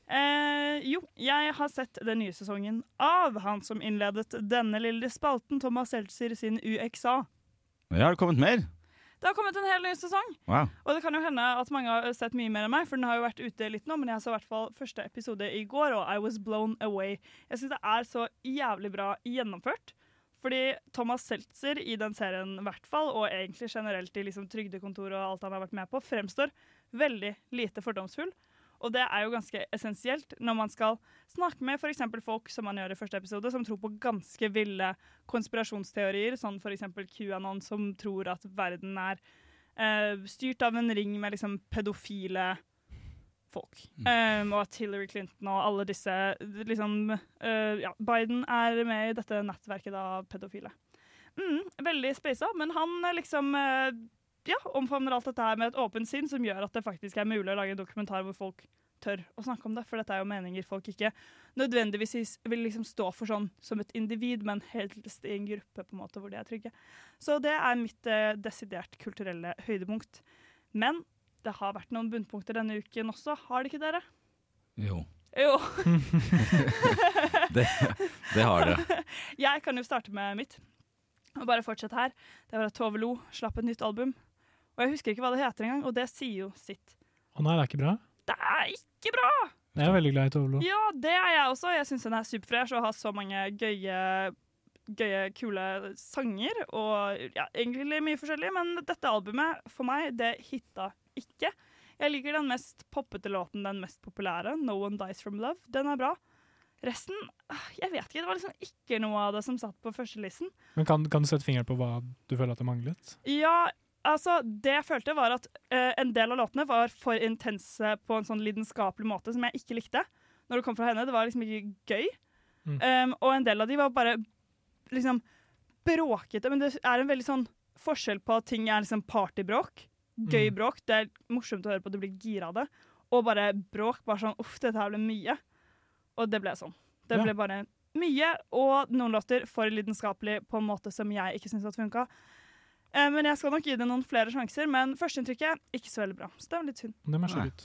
Speaker 8: Eh, jo, jeg har sett den nye sesongen av han som innledet denne lille spalten, Thomas Seltzer sin UXA.
Speaker 9: Ja, har det kommet mer?
Speaker 8: Det har kommet en hel ny sesong,
Speaker 9: Wow.
Speaker 8: og det kan jo hende at mange har sett mye mer enn meg, for den har jo vært ute litt nå, men jeg så i hvert fall første episode i går, og I was blown away. Jeg syns det er så jævlig bra gjennomført. Fordi Thomas Seltzer i den serien i hvert fall, og egentlig generelt i liksom trygdekontoret og alt han har vært med på, fremstår veldig lite fordomsfull. Og det er jo ganske essensielt når man skal snakke med f.eks. folk som man gjør i første episode, som tror på ganske ville konspirasjonsteorier, sånn f.eks. QAnon, som tror at verden er eh, styrt av en ring med liksom pedofile folk. Um, og at Hillary Clinton og alle disse liksom, eh, ja, Biden er med i dette nettverket da, av pedofile. Mm, veldig speisa, men han eh, liksom eh, ja, omfavner alt dette her med et åpent sinn, som gjør at det faktisk er mulig å lage en dokumentar hvor folk tør å snakke om det. For dette er jo meninger folk ikke nødvendigvis is- vil liksom stå for sånn som et individ, men helst i en gruppe på en måte hvor de er trygge. Så det er mitt eh, desidert kulturelle høydepunkt. Men det har vært noen bunnpunkter denne uken også, har det ikke dere?
Speaker 9: Jo.
Speaker 8: Jo.
Speaker 9: <laughs> Det, det har
Speaker 8: <laughs>
Speaker 9: det.
Speaker 8: Jeg kan jo starte med mitt. Og bare fortsette her. Det var at Tove Lo slapp et nytt album. Og jeg husker ikke hva det heter engang, og det sier jo sitt.
Speaker 4: Å nei, det er ikke bra?
Speaker 8: Det er ikke bra!
Speaker 4: Jeg er veldig glad i Tovlo.
Speaker 8: Ja, det er jeg også. Jeg syns den er superfresh og har så mange gøye, gøye kule sanger. Og ja, egentlig mye forskjellig, men dette albumet, for meg, det hitta ikke. Jeg liker den mest poppete låten, den mest populære, 'No One Dies From Love'. Den er bra. Resten ah, Jeg vet ikke. Det var liksom ikke noe av det som satt på førstelisten.
Speaker 4: Men kan, kan du sette fingeren på hva du føler at det manglet?
Speaker 8: Ja, altså Det jeg følte, var at eh, en del av låtene var for intense på en sånn lidenskapelig måte som jeg ikke likte. Når det kom fra henne. Det var liksom ikke gøy.
Speaker 4: Mm.
Speaker 8: Um, og en del av de var bare liksom bråkete. Men det er en veldig sånn forskjell på at ting er liksom partybråk. Gøy
Speaker 4: Mm.
Speaker 8: bråk. Det er morsomt å høre på, du blir gira av det. Og bare bråk. Bare sånn uff, dette her ble mye. Og det ble sånn. Det
Speaker 4: Ja.
Speaker 8: ble bare mye, og noen låter for lidenskapelig på en måte som jeg ikke syns funka. Eh, Men jeg skal nok gi det noen flere sjanser, men førsteinntrykket ikke så veldig bra. Så det er jo litt synd.
Speaker 4: Det må jeg slå
Speaker 9: Nei.
Speaker 4: ut.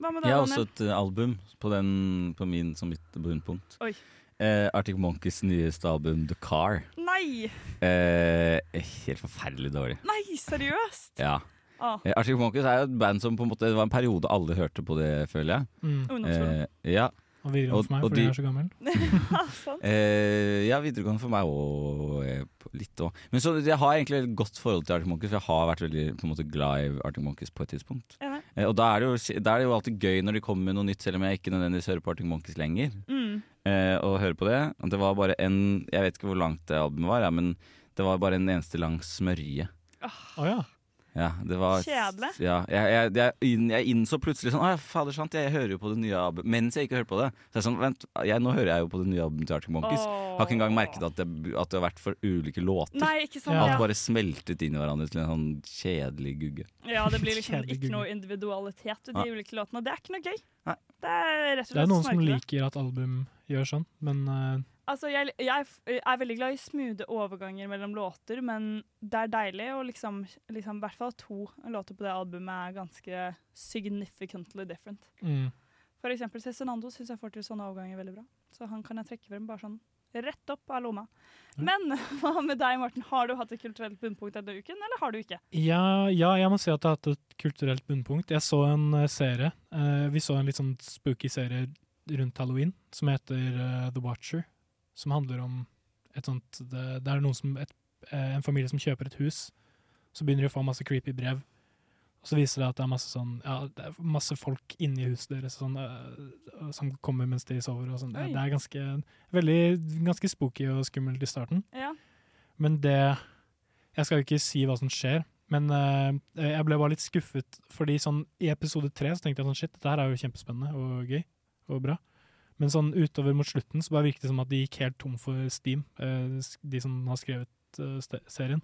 Speaker 8: Hva
Speaker 9: Jeg
Speaker 8: med deg,
Speaker 9: har også
Speaker 8: Daniel?
Speaker 9: et eh, album på, den, på min som mitt bunnpunkt.
Speaker 8: Oi.
Speaker 9: Eh, Arctic Monkeys nyeste album, The Car.
Speaker 8: Nei!
Speaker 9: Eh, helt forferdelig dårlig.
Speaker 8: Nei, seriøst!
Speaker 9: Ja.
Speaker 8: Ah.
Speaker 9: Eh, Arctic Monkeys er jo et band som på en måte Det var en periode alle hørte på det, føler jeg.
Speaker 4: Mm. Ungdomsskolen.
Speaker 9: Eh, ja.
Speaker 4: Og videregående for meg, fordi jeg er så gammel.
Speaker 9: Eh, ja, videregående for meg og eh, på- litt òg. Men så jeg har egentlig et godt forhold til Arctic Monkeys, for jeg har vært veldig på en måte, glad i Arctic Monkeys på et tidspunkt.
Speaker 8: Enig.
Speaker 9: Eh, og da er, det jo, da er det jo alltid gøy når de kommer med noe nytt, selv om jeg ikke nødvendigvis hører på Arctic Monkeys lenger.
Speaker 8: Mm.
Speaker 9: Eh, og høre på det. Det var bare en Jeg vet ikke hvor langt det albumet var, ja, men det var bare en eneste lang smørje.
Speaker 4: Å ja.
Speaker 9: Ja, det var
Speaker 4: Kjedelig.
Speaker 9: Ja, jeg, jeg, jeg, inn- jeg innså plutselig sånn Å ja, fader sant, jeg hører jo på det nye albumet mens jeg ikke hører på det. Så jeg sånn, vent, jeg, nå hører jeg jo på det nye albumet til Arctic Monkeys.
Speaker 8: Åh.
Speaker 9: Har ikke engang merket at det, at det har vært for ulike låter.
Speaker 8: Nei, ikke sant,
Speaker 9: Alt
Speaker 8: ja.
Speaker 9: bare smeltet inn i hverandre til en sånn kjedelig gugge.
Speaker 8: Ja, det blir liksom
Speaker 9: Kjedelig
Speaker 8: ikke
Speaker 9: gugge.
Speaker 8: noe individualitet i
Speaker 9: Nei.
Speaker 8: de ulike låtene. og Det er ikke noe gøy. Det er rett og slett
Speaker 4: Det er noen som
Speaker 8: snorkete.
Speaker 4: liker at album gjør sånn, men eh,
Speaker 8: Altså, jeg, jeg f- er veldig glad i smoothe overganger mellom låter, men det er deilig, og liksom, liksom i hvert fall to låter på det albumet er ganske significantly different.
Speaker 4: Mm.
Speaker 8: For eksempel Cezinando syns jeg får til sånne overganger veldig bra, så han kan jeg trekke frem bare sånn rett opp av lomma. Men <laughs> hva med deg, Morten? Har du hatt et kulturelt bunnpunkt denne uken, eller har du ikke?
Speaker 4: ja, ja, jeg må si at jeg har hatt et kulturelt bunnpunkt. Jeg så en eh, serie. eh, vi så en litt sånn spooky serie rundt halloween som heter eh, The Watcher, som handler om et sånt Det, det er noen som, et eh, en familie som kjøper et hus. Så begynner de å få masse creepy brev. Og så viser det at det er masse sånn Ja, det er masse folk inni huset deres sånn, eh, som kommer mens de sover og sånn. Det,
Speaker 8: Oi.
Speaker 4: det er ganske, veldig, ganske spooky og skummelt i starten.
Speaker 8: Ja.
Speaker 4: Men det Jeg skal jo ikke si hva som skjer, men eh, jeg ble bare litt skuffet, fordi sånn i episode tre så tenkte jeg sånn shit, dette her er jo kjempespennende og gøy og bra. Men sånn utover mot slutten så bare virket det som at de gikk helt tom for steam, eh, s- de som har skrevet eh, ste- serien.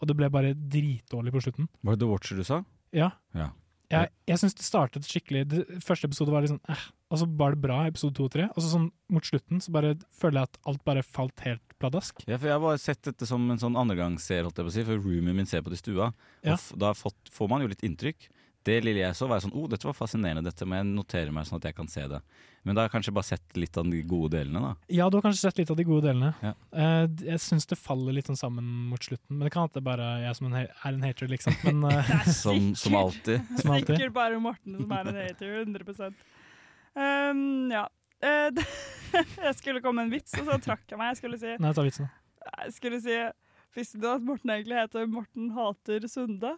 Speaker 4: Og det ble bare dritdårlig på slutten.
Speaker 9: Var det The Watcher du sa?
Speaker 4: Ja.
Speaker 9: Ja.
Speaker 4: Jeg, jeg syns det startet skikkelig det, Første episode var litt sånn eh, og så var det bra, episode to og tre. Og så sånn mot slutten så bare føler jeg at alt bare falt helt pladask.
Speaker 9: Ja, for Jeg har bare sett dette som en sånn andregangsserie, holdt jeg på å si, for roomien min ser på det i stua. Og
Speaker 4: Ja.
Speaker 9: f da har fått, får man jo litt inntrykk. Det lille jeg så, var jeg sånn oh, dette var fascinerende, dette må jeg notere meg sånn at jeg kan se det. Men da har jeg kanskje bare sett litt av de gode delene, da.
Speaker 4: Ja, du har kanskje sett litt av de gode delene.
Speaker 9: Ja.
Speaker 4: Eh, d- jeg syns det faller litt sånn sammen mot slutten, men det kan at det bare er jeg som en, he- er en hater, liksom. Men, <laughs> eh,
Speaker 9: Som, som alltid.
Speaker 4: Som alltid.
Speaker 8: Sikkert bare Morten som er en hater. 100 um, Ja. Eh, <laughs> det- jeg skulle komme med en vits, og så trakk jeg meg. Jeg skulle si,
Speaker 4: Nei, ta vitsen.
Speaker 8: jeg skulle si Visste du at Morten egentlig heter Morten hater
Speaker 9: <laughs>
Speaker 8: Sunde?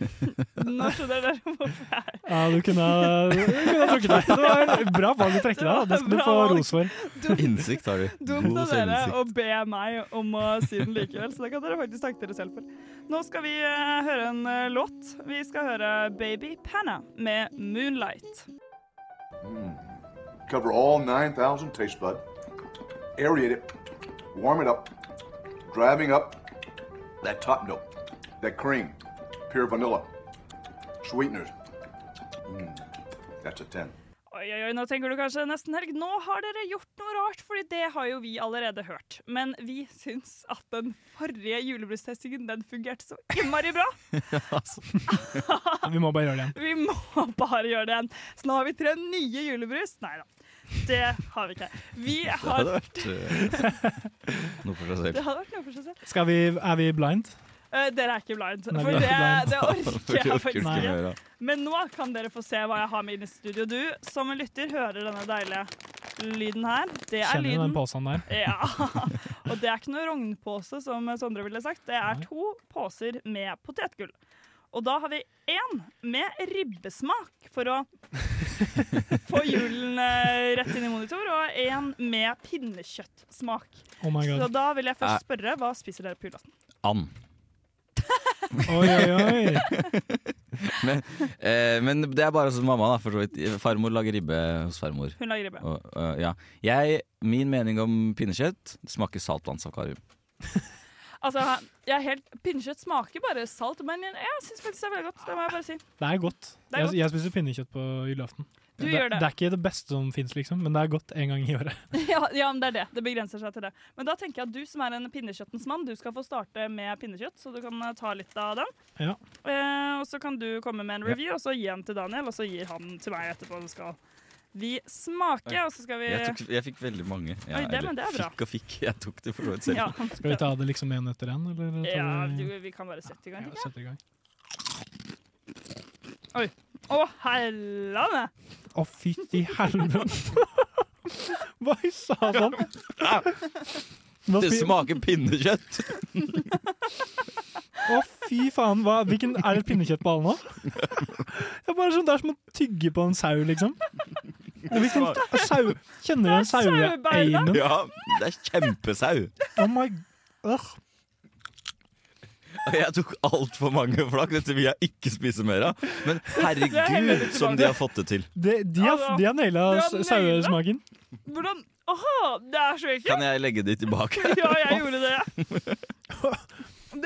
Speaker 8: Nå skjønner dere hvorfor jeg er
Speaker 4: Ja, du kunne ha du kunne ha trukket deg. Det var et bra valg du trekte deg, da. Det skal du
Speaker 8: Bra
Speaker 4: få
Speaker 8: valg.
Speaker 4: ros for.
Speaker 9: Innsikt har du.
Speaker 8: <laughs> dumt av
Speaker 9: God
Speaker 8: dere å
Speaker 9: selvinnsikt.
Speaker 8: be meg om å si den likevel, så det kan dere faktisk takke dere selv for. Nå skal vi eh, høre en eh, låt. Vi skal høre Baby Panna med 'Moonlight'.
Speaker 13: Cover all 9,000 taste bud. Aerate it. Warm it up. Driving up that top note, that cream, pure vanilla, sweeteners. Mm, that's a 10.
Speaker 8: Oi, oi, oi, nå tenker du kanskje nesten helg. Nå har dere gjort noe rart, fordi det har jo vi allerede hørt. Men vi syns at den forrige julebrystestingen, den fungerte så innmari bra.
Speaker 4: Vi må bare gjøre det igjen.
Speaker 8: Vi må bare gjøre det igjen. Så nå har vi tre nye julebrus. Nei da, det har vi ikke. Vi
Speaker 9: <laughs> Det
Speaker 8: har
Speaker 9: <laughs> hadde vært eh, noe for seg
Speaker 8: <laughs> Det
Speaker 9: selv.
Speaker 8: hadde vært noe for seg selv.
Speaker 4: Skal vi, er vi blind?
Speaker 8: Eh, dere er ikke blind,
Speaker 4: Nei,
Speaker 8: for
Speaker 4: vi er
Speaker 8: det,
Speaker 4: ikke blind.
Speaker 8: det
Speaker 9: <laughs>
Speaker 4: <laughs>
Speaker 8: orker
Speaker 4: Det orker
Speaker 8: jeg faktisk
Speaker 4: vi ikke
Speaker 8: ikke.
Speaker 4: gjøre.
Speaker 8: Men nå kan dere få se hva jeg har med inn i studio. Du som lytter, hører denne deilige lyden her. Det er
Speaker 4: Kjenner du den
Speaker 8: lyden.
Speaker 4: posen der?
Speaker 8: Ja. <laughs> Og det er ikke noe rognpose, som Sondre ville sagt. Det er to poser med potetgull. Og da har vi én med ribbesmak for
Speaker 4: <laughs>
Speaker 8: å få julen eh, rett inn i monitor, og én med pinnekjøttsmak.
Speaker 4: Oh my
Speaker 8: Så
Speaker 4: god.
Speaker 8: da vil jeg først spørre, hva spiser dere på julaften?
Speaker 9: And.
Speaker 4: Oi, oi, oi.
Speaker 9: Men, eh, men det er bare som mamma, da, for så vidt. Farmor lager ribbe hos farmor.
Speaker 8: Hun lager ribbe.
Speaker 9: Og, eh, ja. jeg, min mening om pinnekjøtt det smaker saltvannsakvarium.
Speaker 8: Altså, jeg er helt, Pinnekjøtt smaker bare salt, men jeg, jeg syns faktisk det er veldig godt. Det må jeg bare si.
Speaker 4: Det er godt.
Speaker 8: <laughs> Det er
Speaker 4: Jeg,
Speaker 8: godt.
Speaker 4: jeg spiser pinnekjøtt på julaften.
Speaker 8: Du gjør det.
Speaker 4: det er ikke det beste som fins, liksom, men det er godt en gang i
Speaker 8: <laughs>
Speaker 4: året.
Speaker 8: Ja, ja, men det er det. Det begrenser seg til det. Men da tenker jeg at du som er en pinnekjøttens mann, du skal få starte med pinnekjøtt, så du kan eh, ta litt av den.
Speaker 4: Ja.
Speaker 8: Eh, og så kan du komme med en review, og så gi den til Daniel, og så gir han til meg etterpå. Så skal vi smake, og så skal vi
Speaker 9: Jeg, tok, jeg fikk veldig mange. Ja,
Speaker 8: Oi, det-
Speaker 9: eller
Speaker 8: men det er bra.
Speaker 9: Fikk og fikk, jeg tok det for så vidt selv.
Speaker 8: Ja.
Speaker 4: Skal vi ta det liksom én etter én, eller? tar
Speaker 8: Ja,
Speaker 4: vi-
Speaker 8: du, vi kan bare sette i gang.
Speaker 4: Ja,
Speaker 8: tenker jeg.
Speaker 4: setter i gang.
Speaker 8: Oi. Å, hellane!
Speaker 4: Å, fytti helvete! <laughs> Hva sa sånn? han?
Speaker 9: Det smaker pinnekjøtt!
Speaker 4: Å, fy faen! Hva, hvilken, er det et pinnekjøtt på <laughs> alle nå? Det er bare sånn, det er som å tygge på en sau, liksom. Det er Hvilken, sau, kjenner du den saueeimen?
Speaker 9: Ja, det er kjempesau.
Speaker 4: Oh my Ugh.
Speaker 9: Og jeg tok altfor mange flak. Dette vil jeg ikke spise mer av. Men
Speaker 8: <laughs> Det er
Speaker 9: herregud,
Speaker 8: helvete
Speaker 9: som de har fått det til.
Speaker 4: Det, de har, de har naila
Speaker 8: Du har
Speaker 4: s- sauesmaken.
Speaker 8: Hvordan Åha, det er så ekkelt!
Speaker 9: Kan jeg legge det tilbake?
Speaker 8: <laughs> Ja, jeg gjorde det. <laughs>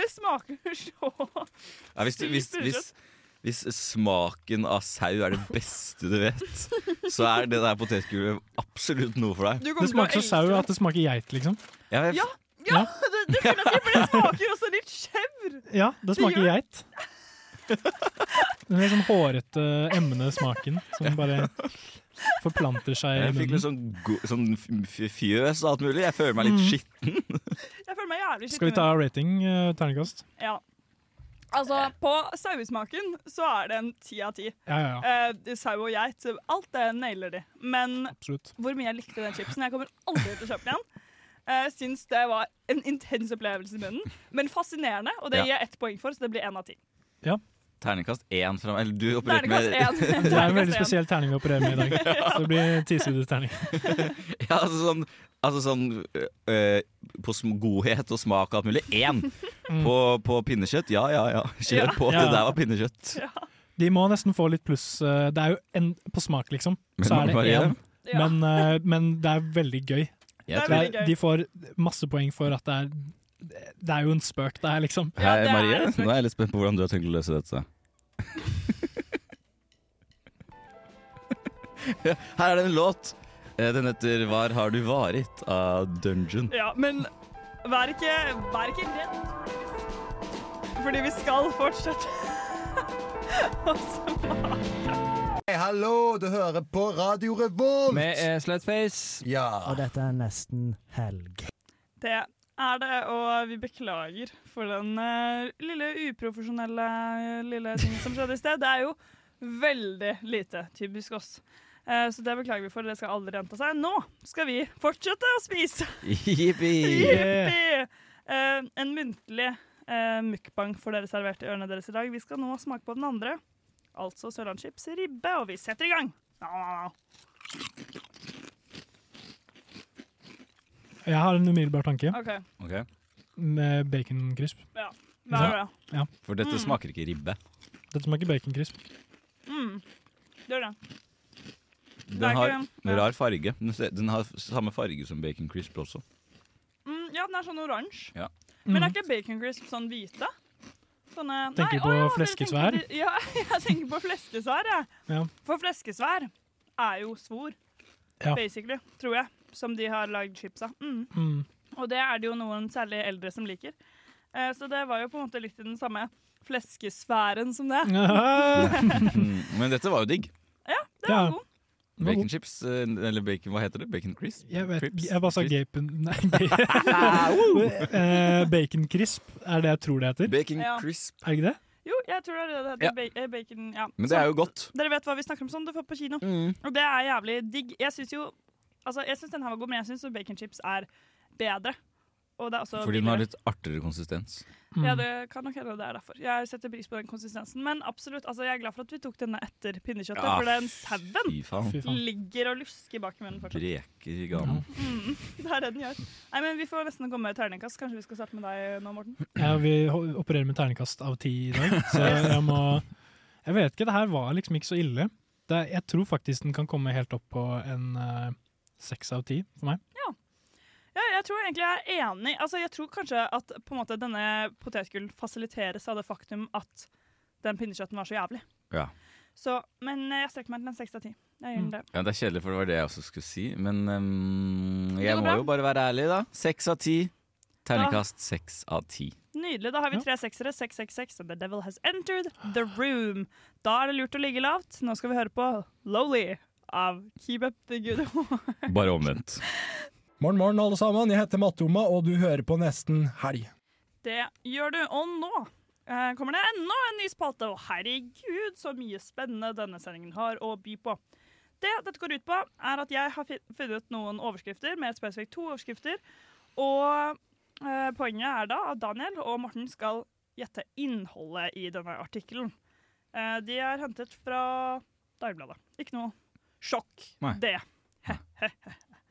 Speaker 8: Det smaker så
Speaker 9: Ja, hvis, du- hvis, hvis, hvis smaken av sau er det beste du vet, så er det der potetgullet absolutt noe for deg.
Speaker 4: Det smaker så sau at det smaker geit, liksom.
Speaker 9: Ja, men-
Speaker 8: Ja, ja, det, det føler jeg sier, for det smaker også litt skjevr.
Speaker 4: Ja, det smaker
Speaker 8: gjør-
Speaker 4: geit. <laughs> Den litt sånn hårete, emne smaken som bare forplanter seg i
Speaker 9: Jeg fikk litt
Speaker 4: munnen.
Speaker 9: sånn, go- sånn f- f- fjøs og alt mulig. Jeg føler meg litt
Speaker 4: Mm.
Speaker 9: skitten.
Speaker 8: Jeg føler meg jævlig skitten.
Speaker 4: Skal vi ta rating, eh, terningkast?
Speaker 8: Ja. Altså, på sauesmaken så er det en ti av ti.
Speaker 4: Ja, ja,
Speaker 8: Eh, sau og geit, alt det nailer de. Men
Speaker 4: Absolutt.
Speaker 8: hvor mye jeg likte den chipsen Jeg kommer aldri til å kjøpe den igjen. Uh, syns det var en intens opplevelse i munnen, men fascinerende. Og det
Speaker 9: Ja.
Speaker 8: gir jeg ett poeng for, så det blir én av ti.
Speaker 9: Terningkast én fra Eller du opererte med
Speaker 8: Terningkast
Speaker 4: <laughs>
Speaker 8: én.
Speaker 4: Det er en veldig spesiell terning vi opererer med i dag.
Speaker 9: <laughs>
Speaker 4: Så det blir tisidig terning.
Speaker 9: Ja, altså sånn, altså sånn øh, På sm- godhet og smak og alt mulig. Én! På, på pinnekjøtt. Ja, ja, ja. Kjør
Speaker 4: Ja.
Speaker 9: på.
Speaker 4: Ja.
Speaker 9: Det der var pinnekjøtt.
Speaker 4: De må nesten få litt pluss. eh, Det er jo en på smak, liksom.
Speaker 9: Men
Speaker 4: Så er det
Speaker 9: Maria?
Speaker 4: én. Men, eh, men det er veldig gøy.
Speaker 9: Jeg
Speaker 4: Det
Speaker 9: tror-
Speaker 4: er- De får masse poeng for at det er Det er jo en spøk, det her, liksom.
Speaker 9: Hei, Marie. Nå er jeg litt spent på hvordan du har tenkt å løse dette. <laughs> Her er det en låt. Eh, Den heter 'Hvar har du varit?' av Dungeon.
Speaker 8: Ja, men vær ikke, vær ikke redd. Fordi vi skal <laughs> fortsette å smake.
Speaker 6: Hei, hallo, du hører på Radio Revolt!
Speaker 19: Vi er Slutface,
Speaker 6: ja.
Speaker 19: og dette er nesten helg.
Speaker 8: Det er det, og vi beklager for den eh, lille uprofesjonelle eh, lille ting som skjedde i sted. Det er jo veldig lite typisk oss. Eh, Så det beklager vi for, det skal aldri gjenta seg. Nå skal vi fortsette å spise.
Speaker 9: Jippi!
Speaker 8: Jippi! Eh, en muntlig uh, mukbang for dere servert i ørene deres i dag. Vi skal nå smake på den andre, altså Sørlandschips ribbe, og vi setter i gang. Ah.
Speaker 4: Jeg har en umiddelbar tanke.
Speaker 8: Ok.
Speaker 9: Ok.
Speaker 4: Med baconcrisp.
Speaker 8: Ja, hva er det?
Speaker 4: Ja.
Speaker 9: For dette
Speaker 8: Mm.
Speaker 9: smaker ikke ribbe.
Speaker 4: Dette smaker baconcrisp.
Speaker 8: Mm. Gjør det. Det er
Speaker 9: Den har
Speaker 8: ikke- ja.
Speaker 9: rar farge. Den ser- Den har samme farge som bacon crisp også.
Speaker 8: Mm, ja, den er sånn oransje.
Speaker 9: Ja.
Speaker 8: Men er ikke bacon crisp sånn hvite? Sånne,
Speaker 4: Mm. Tenker
Speaker 8: Nei,
Speaker 4: på
Speaker 8: å dere tenker
Speaker 4: fleskesvær?
Speaker 8: på- Ja, <laughs> jeg tenker på fleskesvær, jeg.
Speaker 4: Ja.
Speaker 8: For fleskesvær er jo svor,
Speaker 4: Ja.
Speaker 8: basically, tror jeg, som de har lagd chips av. Mm.
Speaker 4: Mm.
Speaker 8: Og det er det jo noen særlig eldre som liker. Eh, så det var jo på en måte litt i den samme fleskesfæren som det.
Speaker 9: Mm, Men dette var jo digg.
Speaker 8: ja, det
Speaker 4: Ja.
Speaker 8: var god.
Speaker 9: Bacon chips, eh, eller bacon, hva heter det? Bacon crisp?
Speaker 4: Jeg vet
Speaker 9: Crips?
Speaker 4: Jeg bare sa
Speaker 9: Crisp?
Speaker 4: gapen <laughs> Nei,
Speaker 20: <laughs>
Speaker 4: ga- Eh, Baconcrisp er det jeg tror det heter.
Speaker 9: Bacon
Speaker 8: Ja.
Speaker 9: crisp.
Speaker 4: Er det ikke det?
Speaker 8: Jo, jeg tror det er det. det
Speaker 4: Ja.
Speaker 8: heter ba- eh, Bacon, ja.
Speaker 9: Men det er jo godt.
Speaker 8: Dere vet hva vi snakker om sånn, du får på kino.
Speaker 9: Mm.
Speaker 8: Og det er jævlig digg. Jeg syns jo Altså, jeg syns den her var god, men jeg syns baconchips er bedre. Og det er også
Speaker 9: Fordi den har
Speaker 8: billigere.
Speaker 9: litt artigere konsistens.
Speaker 4: Mm.
Speaker 8: Ja, det kan nok hende det er derfor. Jeg setter pris på den konsistensen. Men absolutt, altså, jeg er glad for at vi tok denne etter pinnekjøttet,
Speaker 9: Ja,
Speaker 8: for den sauen
Speaker 9: Ah, fy
Speaker 4: Mm.
Speaker 9: faen. Fy faen.
Speaker 8: ligger og lusker bak i munnen fortsatt.
Speaker 9: Greker i ganen.
Speaker 8: Mm, <laughs> det er det den gjør. Nei, men Vi får nesten komme med terningkast. Kanskje vi skal starte med deg nå, Morten?
Speaker 4: Ja, vi ho- opererer med terningkast av ti i dag,
Speaker 8: <laughs>
Speaker 4: så jeg må Jeg vet ikke, det her var liksom ikke så ille. Det, er- jeg tror faktisk den kan komme helt opp på en eh, seks av ti for meg.
Speaker 8: Ja, jeg tror egentlig jeg er enig. Altså, jeg tror kanskje at på en måte, denne potetgullen fasiliteres av det faktum at den pinnekjøtten var så jævlig.
Speaker 9: Ja.
Speaker 8: Så, men eh, jeg strekker meg til en 6 av 10. Jeg gjør det.
Speaker 9: ja, Det er kjedelig, for det var det jeg også skulle si. Men ehm, jeg
Speaker 8: går
Speaker 9: må
Speaker 8: bra.
Speaker 9: jo bare være ærlig, da. Seks av ti. Terningkast seks av ti.
Speaker 8: Nydelig. Da har vi tre seksere. 666, and the devil has entered the room. Da er det lurt å ligge lavt. Nå skal vi høre på Lowly av Keep Up The Good War.
Speaker 9: Bare
Speaker 8: <laughs>
Speaker 9: omvendt.
Speaker 20: Morgen, morgen, alle sammen. Jeg heter Matteoma, og du hører på Nesten helg.
Speaker 8: Det gjør du. Og nå eh, kommer det enda en ny spalte. Og herregud, så mye spennende denne sendingen har å by på. Det dette går ut på, er at jeg har fin- funnet noen overskrifter, med spesifikt to overskrifter. Og eh, poenget er da at Daniel og Morten skal gjette innholdet i denne artikkelen. Eh, de er hentet fra Dagbladet. Ikke noe sjokk,
Speaker 9: Nei.
Speaker 8: det. <laughs>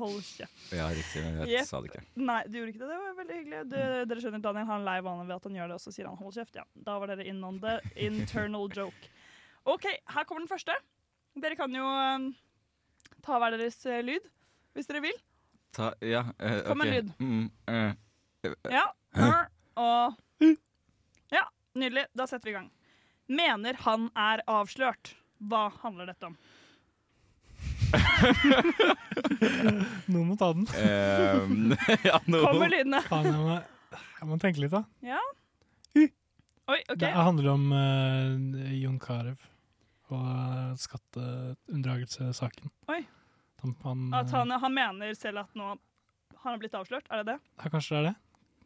Speaker 8: Hold kjeft.
Speaker 9: Ja, riktig. Jeg
Speaker 8: Jepp.
Speaker 9: sa det ikke.
Speaker 8: Nei, du gjorde ikke det. Det var veldig hyggelig. Du,
Speaker 4: Mm.
Speaker 8: dere skjønner, Daniel har en lei vane ved at han gjør det, og så sier han 'hold kjeft'. Ja, da var dere in on the
Speaker 4: <laughs>
Speaker 8: internal joke. OK, her kommer den første. Dere kan jo eh, ta hver deres eh, lyd, hvis dere vil.
Speaker 9: Ta, ja, eh,
Speaker 8: Kom med
Speaker 9: ok.
Speaker 8: lyd.
Speaker 9: Mm, eh, <laughs> eh,
Speaker 8: Ja. Og Ja, nydelig. Da setter vi i gang. Mener han er avslørt. Hva handler dette om?
Speaker 4: Noen må ta den.
Speaker 9: Ehm, <laughs> ja, noen.
Speaker 8: Kommer lydene.
Speaker 4: Faen, jeg, må, jeg må tenke litt, da.
Speaker 8: Ja? Oi, OK.
Speaker 4: Det handler om eh, Jon Carew og skatteunndragelsessaken.
Speaker 8: Oi.
Speaker 4: Han, han, eh,
Speaker 8: At han, han mener selv at nå han har blitt avslørt? Er det det?
Speaker 4: ja, kanskje det er det?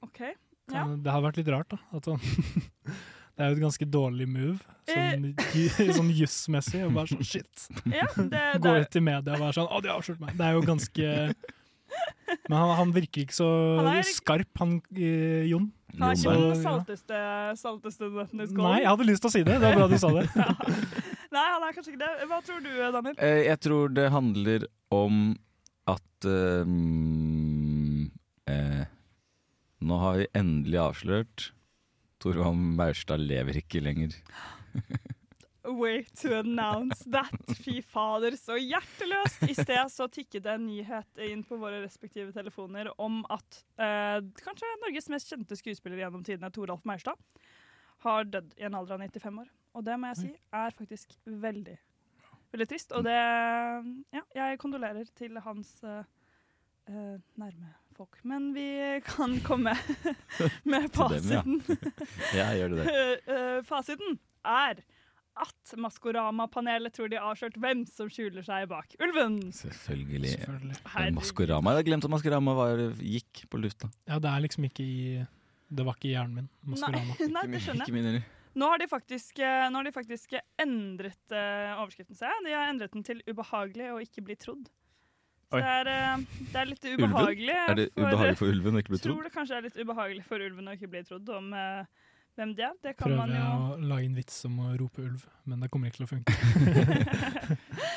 Speaker 8: OK. Ja.
Speaker 4: Kan, Det har vært litt rart, da. At han, <laughs> det er jo et ganske dårlig move, sånn, ju- sånn jussmessig. og Bare sånn shit.
Speaker 8: Eh, Ja, det- det
Speaker 4: Gå <laughs>
Speaker 8: er- <laughs>
Speaker 4: ut i media og være sånn 'Å, de avslørte meg'. Det er jo ganske Men han, han virker ikke så
Speaker 8: Han er-
Speaker 4: skarp, han eh, Jon.
Speaker 8: Han er ikke
Speaker 4: Så,
Speaker 8: den
Speaker 4: ja.
Speaker 8: salteste, salteste nøtten i skålen.
Speaker 4: Nei, jeg hadde lyst til å si det. Det er bra du sa det.
Speaker 8: Nei, han er kanskje ikke det. Hva tror du, Daniel?
Speaker 9: Eh, Jeg tror det handler om at eh, mm, eh, Nå har vi endelig avslørt Torvald Maurstad lever ikke lenger.
Speaker 8: Way to announce that. Fy fader, så hjerteløst! I sted så tikket det en nyhet inn på våre respektive telefoner om at eh, kanskje Norges mest kjente skuespiller gjennom tidene, Toralf Meierstad, har dødd i en alder av 95 år. Og det må jeg si er faktisk veldig, veldig trist. Og det Ja, jeg kondolerer til hans eh, eh, nærme folk. Men vi kan komme <laughs> med
Speaker 9: Til dem, ja.
Speaker 8: fasiten.
Speaker 9: Ja, gjør du det.
Speaker 8: <laughs> Eh, fasiten er at Maskorama-panelet tror de har avslørt hvem som skjuler seg bak ulven.
Speaker 9: Selvfølgelig.
Speaker 8: Herregud.
Speaker 9: Maskorama. Jeg hadde glemt at Maskorama var, gikk på lufta.
Speaker 4: Ja, det er liksom ikke i Det var ikke i hjernen min. Maskorama.
Speaker 8: Nei, nei, det skjønner
Speaker 9: Ikke min
Speaker 8: jeg.
Speaker 9: heller.
Speaker 8: Nå har de faktisk, eh, nå har de faktisk endret eh, overskriften, ser jeg. De har endret den til 'ubehagelig å ikke bli trodd'. Så
Speaker 9: Oi.
Speaker 8: det er, eh, det er litt
Speaker 9: Ulven?
Speaker 8: ubehagelig.
Speaker 9: Er det ubehagelig for ulven å ikke bli
Speaker 8: Tror
Speaker 9: trodd?
Speaker 8: det kanskje er litt ubehagelig for ulven å ikke bli trodd om eh, hvem de er. Det kan
Speaker 4: Prøver
Speaker 8: man jo
Speaker 4: jeg å lage en vits om å rope ulv, men det kommer ikke til å funke.
Speaker 8: <laughs>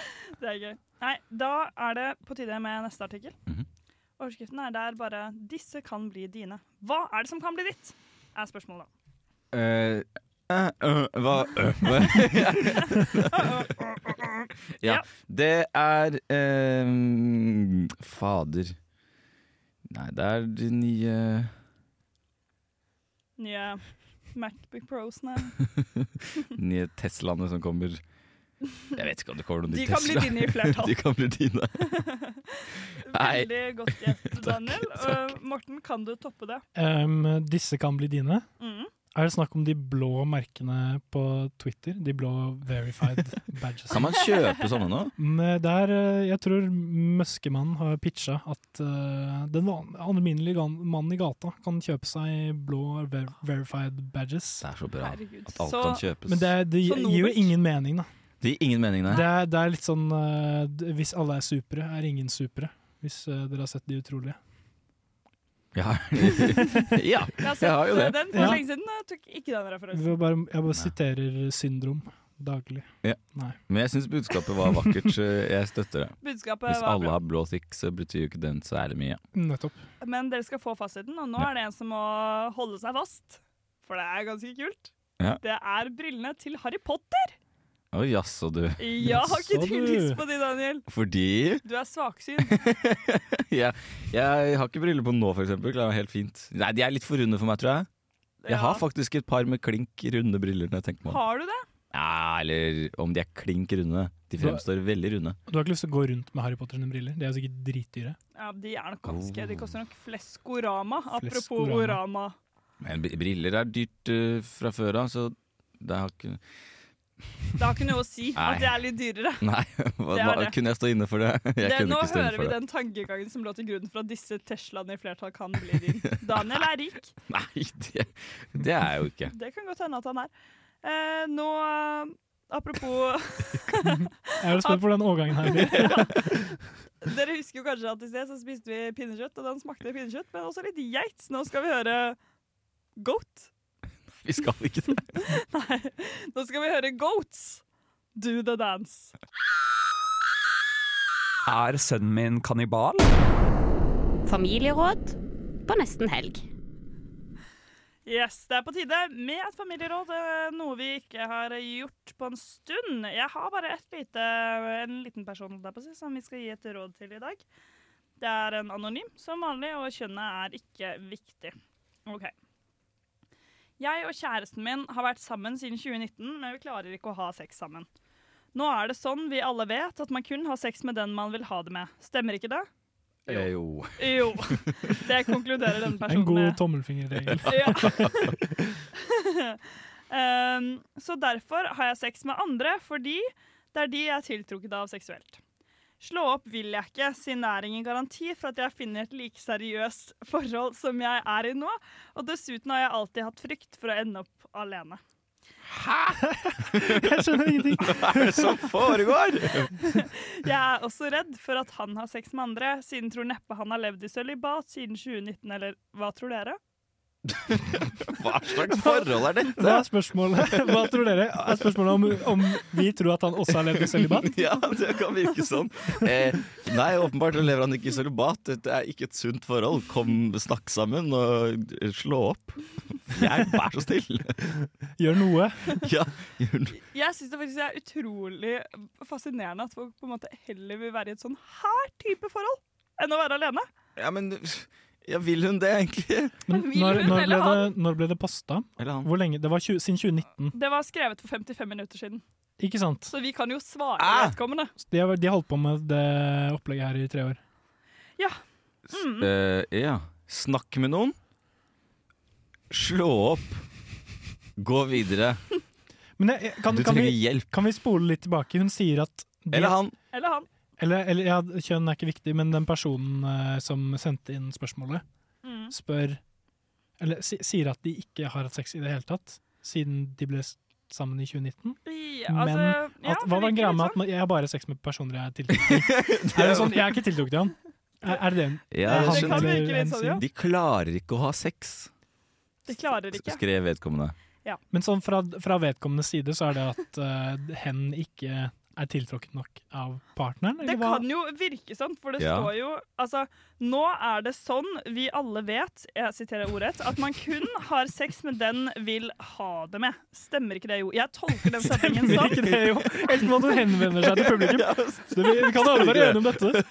Speaker 8: Det er gøy. Nei, da er det på tide med neste artikkel.
Speaker 9: Mhm.
Speaker 8: Overskriften er der bare 'Disse kan bli dine'. Hva er det som kan bli ditt? Er
Speaker 9: <laughs>
Speaker 8: spørsmålet. <laughs>
Speaker 9: Eh, eh, øh, hva øh, hva- Ja. Det er eh, Fader. Nei, det er de nye
Speaker 8: Nye Macbook Pros-ene.
Speaker 9: nye Teslaene som kommer. Jeg vet ikke om det kommer noen
Speaker 8: De
Speaker 9: nye
Speaker 8: kan bli
Speaker 9: Tesla.
Speaker 8: dine i flertall.
Speaker 9: <laughs> De kan bli dine. <laughs> Nei.
Speaker 8: Veldig godt
Speaker 9: <laughs>
Speaker 8: gjett, Daniel. Og Morten, kan du toppe det?
Speaker 4: Em, disse kan bli dine.
Speaker 8: Mhm.
Speaker 4: Er det snakk om de blå merkene på Twitter? De blå verified
Speaker 8: <laughs>
Speaker 4: badges.
Speaker 9: Kan man kjøpe sånne nå?
Speaker 4: Mm, Det er, eh, jeg tror Møskemannen har pitcha at eh, den van- alminnelige gan- mannen i gata kan kjøpe seg blå ver verified badges.
Speaker 9: Det er så bra
Speaker 8: Herregud.
Speaker 9: at alt kan kjøpes.
Speaker 4: Men det, det
Speaker 9: Så
Speaker 4: gir jo
Speaker 9: nobelt.
Speaker 4: ingen mening, da.
Speaker 9: Det gir ingen mening, nei.
Speaker 4: Det er, det er litt sånn eh, d- Hvis alle er supere, er ingen supere. Hvis eh, dere har sett De
Speaker 9: <laughs>
Speaker 4: utrolige. <laughs>
Speaker 9: Ja. ja, <laughs>
Speaker 8: Jeg har
Speaker 9: jeg har jo det.
Speaker 8: sett den for
Speaker 4: Ja.
Speaker 8: lenge siden. Jeg tok ikke den referansen.
Speaker 4: Jeg bare, jeg bare siterer syndrom daglig.
Speaker 9: Ja.
Speaker 4: Nei.
Speaker 9: Men jeg syns budskapet var vakkert. så Jeg støtter det.
Speaker 8: Budskapet
Speaker 9: Hvis
Speaker 8: var
Speaker 9: alle
Speaker 8: bra.
Speaker 9: har blå tikk, så betyr jo ikke den særlig mye.
Speaker 4: Nettopp.
Speaker 8: Men dere skal få fasiten, og nå er det en som må holde seg fast. For det er ganske kult.
Speaker 9: Ja.
Speaker 8: Det er brillene til Harry Potter!
Speaker 9: Å jaså, du.
Speaker 8: Ja, har ikke du lyst på de, Daniel?
Speaker 9: Fordi
Speaker 8: Du er
Speaker 9: <laughs>
Speaker 8: svaksynt.
Speaker 9: jeg, jeg har ikke briller på nå, for eksempel. Det er helt fint. Nei, de er litt for runde for meg, tror jeg. Jeg har faktisk et par med klink runde briller. Når jeg tenker meg om.
Speaker 8: Har du det?
Speaker 9: Ja, eller om de er klink runde. De fremstår veldig runde.
Speaker 4: Du har ikke lyst til å gå rundt med Harry Potter sine briller? De er jo sikkert dritdyre.
Speaker 8: Ja, De er nok ganske De
Speaker 9: Oh.
Speaker 8: koster nok fleskorama. Apropos
Speaker 4: Fleskorama.
Speaker 8: orama.
Speaker 9: Men br- briller er dyrt eh, fra før av, så det har ikke
Speaker 8: Det har ikke noe å si
Speaker 9: Nei.
Speaker 8: at det er litt dyrere.
Speaker 9: Nei, <laughs> hva,
Speaker 8: Det er
Speaker 9: hva,
Speaker 8: det.
Speaker 9: kunne jeg stå inne for det? <laughs> Jeg
Speaker 8: Det,
Speaker 9: kunne
Speaker 8: nå
Speaker 9: ikke stå inne
Speaker 8: hører vi
Speaker 9: for det.
Speaker 8: den tankegangen som lå til grunn for at disse Teslaene i flertall kan bli din.
Speaker 9: <laughs>
Speaker 8: Daniel er rik.
Speaker 9: Nei, det, det er jeg jo ikke.
Speaker 8: Det kan godt hende at han er. Eh, nå eh, <laughs> Apropos
Speaker 4: Jeg er jo spent på den overgangen her. blir.
Speaker 8: <laughs> Dere husker jo kanskje at i sted så spiste vi pinnekjøtt, og den smakte pinnekjøtt, men også litt geits. Nå skal vi høre goat.
Speaker 9: <laughs>
Speaker 8: <laughs>
Speaker 9: Vi skal ikke det.
Speaker 8: Nå skal vi høre goats do the dance.
Speaker 21: Er sønnen min kannibal?
Speaker 22: Familieråd på nesten helg.
Speaker 8: Yes, det er på tide med et familieråd, eh, noe vi ikke har gjort på en stund. Jeg har bare et lite, en liten person holdt jeg på, å si, som vi skal gi et råd til i dag. Det er en anonym, som vanlig, og kjønnet er ikke viktig. Ok. Jeg og kjæresten min har vært sammen siden 2019, men vi klarer ikke å ha sex sammen. Nå er det sånn vi alle vet at man kun har sex med den man vil ha det med. Stemmer ikke det?
Speaker 9: Eh, <laughs> Jo.
Speaker 4: <laughs>
Speaker 8: Jo. Det konkluderer denne personen
Speaker 4: En god
Speaker 8: med.
Speaker 4: tommelfingerregel. <laughs>
Speaker 8: <laughs> Ja. um, så derfor har jeg sex med andre, fordi det er de jeg er tiltrukket av seksuelt. Slå opp vil jeg ikke, siden det er ingen garanti for at jeg finner et like seriøst forhold som jeg er i nå, og dessuten har jeg alltid hatt frykt for å ende opp alene.
Speaker 4: Hæ?! Jeg skjønner ingenting.
Speaker 9: Hva <laughs> er det som foregår? <laughs>
Speaker 8: Jeg er også redd for at han har sex med andre, siden tror neppe han har levd i sølibat siden 2019, eller hva tror dere?
Speaker 9: Hva slags forhold er dette?
Speaker 4: Hva er spørsmålet? <laughs> Hva tror dere? Er spørsmålet om, om vi tror at han også har levd i sølibat?
Speaker 9: <laughs> Ja, det kan virke sånn. Eh, nei, åpenbart lever han ikke i sølibat. Dette er ikke et sunt forhold. Kom, snakk sammen og eh, slå <laughs> opp. Jeg, vær så snill.
Speaker 4: Gjør noe.
Speaker 9: <laughs> Ja, gjør noe.
Speaker 8: Jeg syns det faktisk er utrolig fascinerende at folk på en måte heller vil være i et sånn her type forhold enn å være alene.
Speaker 9: Ja, men ja, vil hun det, egentlig?
Speaker 4: Men
Speaker 8: Vil
Speaker 4: når,
Speaker 8: hun
Speaker 4: når,
Speaker 8: eller
Speaker 4: ble
Speaker 8: han?
Speaker 4: det, når ble det posta? Hvor lenge? Det var 20, siden 2019.
Speaker 8: Det var skrevet for 55 minutter siden,
Speaker 4: Ikke sant?
Speaker 8: så vi kan jo svare
Speaker 4: Ah!
Speaker 8: vedkommende.
Speaker 4: De har, de har holdt på med det opplegget her i tre år.
Speaker 8: Ja. Mm.
Speaker 9: Eh, ja. Snakk med noen. Slå opp. Gå videre.
Speaker 4: Men jeg, jeg- kan,
Speaker 9: Du
Speaker 4: kan,
Speaker 9: trenger
Speaker 4: vi,
Speaker 9: hjelp.
Speaker 4: kan vi spole litt tilbake? Hun sier at de,
Speaker 9: Eller han.
Speaker 8: Eller han.
Speaker 4: Eller, eller ja, kjønn er ikke viktig, men den personen eh, som sendte inn spørsmålet,
Speaker 8: Mm.
Speaker 4: spør Eller si, sier at de ikke har hatt sex i det hele tatt, siden de ble s- sammen i 2019.
Speaker 8: Ja, altså,
Speaker 4: men
Speaker 8: ja,
Speaker 4: at,
Speaker 8: det
Speaker 4: hva var greia
Speaker 8: virker litt sånn.
Speaker 4: med at man, jeg har bare sex med personer jeg er
Speaker 8: <laughs>
Speaker 4: tiltrukket til? er det sånn, jeg er ikke tiltrukket til han. Er, er det det?
Speaker 9: <laughs>
Speaker 4: sånn-
Speaker 9: Ja,
Speaker 4: han
Speaker 9: jeg skjønner.
Speaker 4: eller en
Speaker 8: sånn,
Speaker 4: sier?
Speaker 9: De klarer ikke å ha sex,
Speaker 8: De klarer ikke.
Speaker 9: skrev vedkommende.
Speaker 8: Ja.
Speaker 4: Men sånn fra, fra vedkommendes side så er det at eh, hen ikke er tiltrukket nok av partneren?
Speaker 8: Det kan jo virke sånn, for det
Speaker 4: Ja.
Speaker 8: står jo Altså, nå er det sånn vi alle vet, jeg siterer ordrett, at man kun har sex med den vil ha det med. Stemmer ikke det, jo? Jeg tolker den setningen
Speaker 4: Stemmer
Speaker 8: sånn.
Speaker 4: ikke det,
Speaker 9: <laughs>
Speaker 4: jo. Enten må du henvende seg til publikum. Så vi, vi kan alle være enige om
Speaker 9: <laughs>
Speaker 4: dette.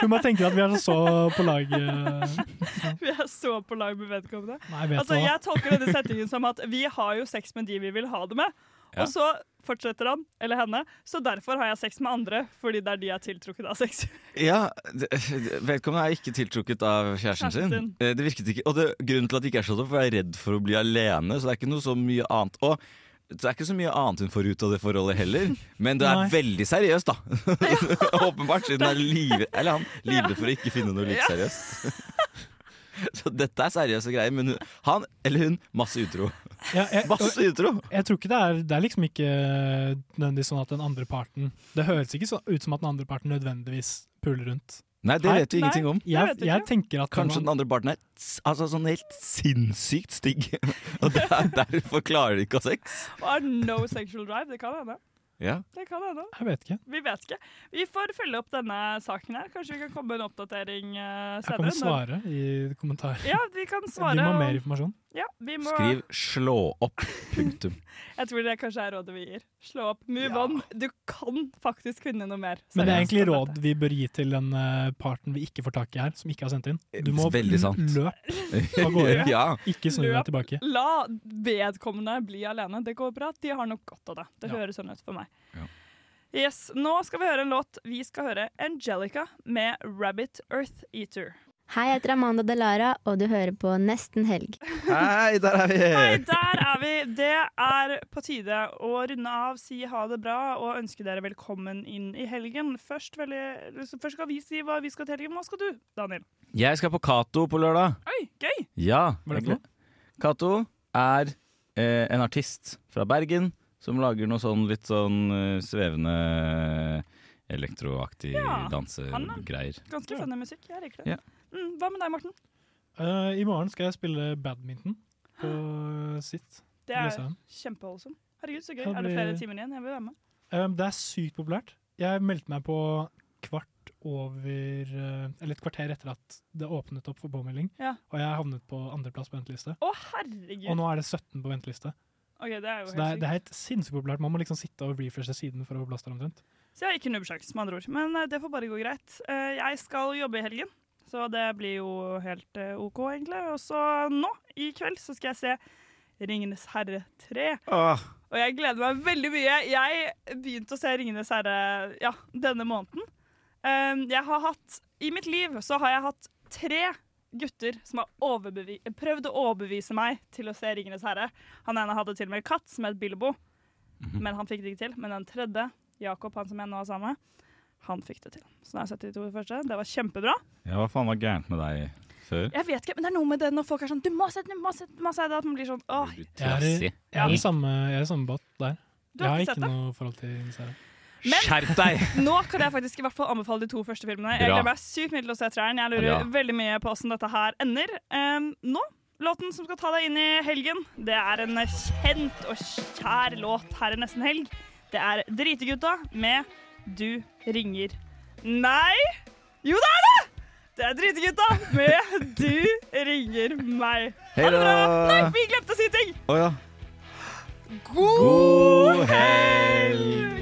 Speaker 4: Hun må tenke at vi er så på lag. eh.
Speaker 8: Vi er så på lag med vedkommende.
Speaker 4: Nei, vet du hva?
Speaker 8: altså, jeg tolker denne setningen som at vi har jo sex med de vi vil ha det med.
Speaker 4: Ja.
Speaker 8: Og så fortsetter han, eller henne, så derfor har jeg sex med andre. Fordi det er de jeg er tiltrukket av sex.
Speaker 9: Ja, det- <laughs> det- Vedkommende er ikke tiltrukket av kjæresten sin.
Speaker 8: Kjæresten sin.
Speaker 9: Eh, Det virket ikke, og det, Grunnen til at det ikke er sånn, er for jeg er redd for å bli alene. Så det er ikke noe så mye annet Og det er ikke så mye annet hun får ut av det forholdet heller. Men det er
Speaker 4: Nei.
Speaker 9: veldig seriøst, da. Åpenbart, siden hun er live, eller han livredd for å ikke finne noe like
Speaker 8: Ja.
Speaker 9: seriøst. <laughs> Så dette er seriøse greier, men hun, han eller hun masse utro.
Speaker 4: Ja, jeg,
Speaker 9: Masse utro!
Speaker 4: Jeg tror ikke det er Det er liksom ikke nødvendigvis sånn at den andre parten Det høres ikke så, ut som at den andre parten nødvendigvis puler rundt.
Speaker 9: Nei, det vet vi Nei, ingenting om. det
Speaker 4: Jeg,
Speaker 9: vet vi
Speaker 4: jeg
Speaker 9: ikke.
Speaker 4: tenker at
Speaker 9: Kanskje den andre parten er s- altså, sånn helt sinnssykt stygg, <laughs> og der, derfor klarer de ikke å ha sex.
Speaker 8: Og har no sexual drive. Det kan hende.
Speaker 9: Ja.
Speaker 8: Det kan hende.
Speaker 4: Jeg vet ikke.
Speaker 8: Vi vet ikke. Vi får følge opp denne saken her. Kanskje vi kan komme med en oppdatering eh,
Speaker 4: Jeg kommer
Speaker 8: senere.
Speaker 4: til å svare i kommentarene.
Speaker 8: Ja, vi kan svare.
Speaker 4: Vi må ha
Speaker 8: og-
Speaker 4: mer informasjon.
Speaker 8: Ja, vi må,
Speaker 9: Skriv 'slå opp'. Punktum.
Speaker 8: Jeg tror det kanskje er rådet vi gir. Slå opp. Move on. Du kan faktisk finne noe mer.
Speaker 4: Men det er
Speaker 8: Seriøst.
Speaker 4: egentlig råd vi bør gi til den eh, parten vi ikke får tak i her, som ikke har sendt inn. Du må
Speaker 9: Eh, Veldig sant. <laughs>
Speaker 4: løp av gårde.
Speaker 9: <laughs> Ja.
Speaker 4: Ikke snu deg
Speaker 8: Løp.
Speaker 4: tilbake.
Speaker 8: La vedkommende bli alene. Det går bra. De har nok godt av det. Det
Speaker 4: Ja.
Speaker 8: høres sånn ut for meg. Yes, Nå skal vi høre en låt. Vi skal høre Angelica med 'Rabbit Earth Eater'.
Speaker 1: Hei, jeg heter Amanda Delara, og du hører på Nesten Helg.
Speaker 9: Hei, der er vi!
Speaker 8: Hei, der er vi! Det er på tide å runde av, si ha det bra og ønske dere velkommen inn i helgen. Først, veldig, liksom, først skal vi si hva vi skal til helgen. Hva skal du, Daniel?
Speaker 9: Jeg skal på Cato på lørdag.
Speaker 8: Oi, gøy!
Speaker 9: Ja.
Speaker 8: Hva er det for noe?
Speaker 9: Cato er eh, en artist fra Bergen som lager noe sånn litt sånn eh, svevende elektroaktig
Speaker 8: Ja, han er
Speaker 9: dansegreier.
Speaker 8: Ganske funny musikk. Jeg liker
Speaker 9: Ja.
Speaker 8: det. Mm, hva med deg, Morten?
Speaker 4: Eh, I morgen skal jeg spille badminton på sitt.
Speaker 8: Det er
Speaker 4: Løsheim.
Speaker 8: kjempeholdsomt. Herregud, så gøy.
Speaker 4: Kan
Speaker 8: Er det flere
Speaker 4: bli-
Speaker 8: timer igjen? Jeg vil være med.
Speaker 4: Eh, det er sykt populært. Jeg meldte meg på kvart over eh, Eller et kvarter etter at det åpnet opp for påmelding,
Speaker 8: Ja.
Speaker 4: og jeg havnet på andreplass på venteliste.
Speaker 8: Å, herregud!
Speaker 4: Og nå er det 17 på venteliste.
Speaker 8: Ok, det er jo
Speaker 4: Så
Speaker 8: helt
Speaker 4: det er,
Speaker 8: sykt.
Speaker 4: det er helt sinnssykt populært. Man må liksom sitte og refreshe siden for å få plass der omtrent.
Speaker 8: Så jeg har ikke nubbsjans, med andre ord. Men eh, det får bare gå greit. Eh, Jeg skal jobbe i helgen, så det blir jo helt eh, OK, egentlig. Og så nå, i kveld, så skal jeg se Ringenes herre 3. Og jeg gleder meg veldig mye. Jeg begynte å se Ringenes herre ja, denne måneden. Eh, Jeg har hatt I mitt liv så har jeg hatt tre gutter som har overbevi prøvd å overbevise meg til å se Ringenes herre. Han ene hadde til og med katt som het Bilbo. Men han fikk det ikke til. Men den tredje, Jakob, han som jeg nå er sammen med, han fikk det til. Så da har jeg sett de to første. Det var kjempebra.
Speaker 9: Ja, hva faen var gærent med deg? Før?
Speaker 8: Jeg vet ikke, men det er noe med det når folk er sånn 'du må se den', 'du må se den', du må se den, at man blir sånn åh.
Speaker 4: Jeg er i, jeg er i samme, jeg er i samme båt der.
Speaker 8: Du
Speaker 4: jeg
Speaker 8: har
Speaker 4: har
Speaker 8: ikke
Speaker 4: ikke
Speaker 8: sett det?
Speaker 4: noe forhold til Inside Out.
Speaker 8: Men
Speaker 9: Skjerp deg!
Speaker 8: nå kan jeg faktisk i hvert fall anbefale de to første filmene. Jeg
Speaker 4: Bra.
Speaker 8: gleder meg sykt mye til å se treeren. Jeg lurer
Speaker 9: Ja.
Speaker 8: veldig mye på åssen dette her ender. Um, nå, låten som skal ta deg inn i helgen, det er en kjent og kjær låt her i Nesten Helg. Det er Dritegutta med Du ringer. Nei! Jo, det er det! Det er Dritegutta med Du ringer meg. Ha det bra!
Speaker 9: Hejdå!
Speaker 8: Nei, vi glemte å si ting!
Speaker 9: Å ja.
Speaker 8: God
Speaker 9: helg!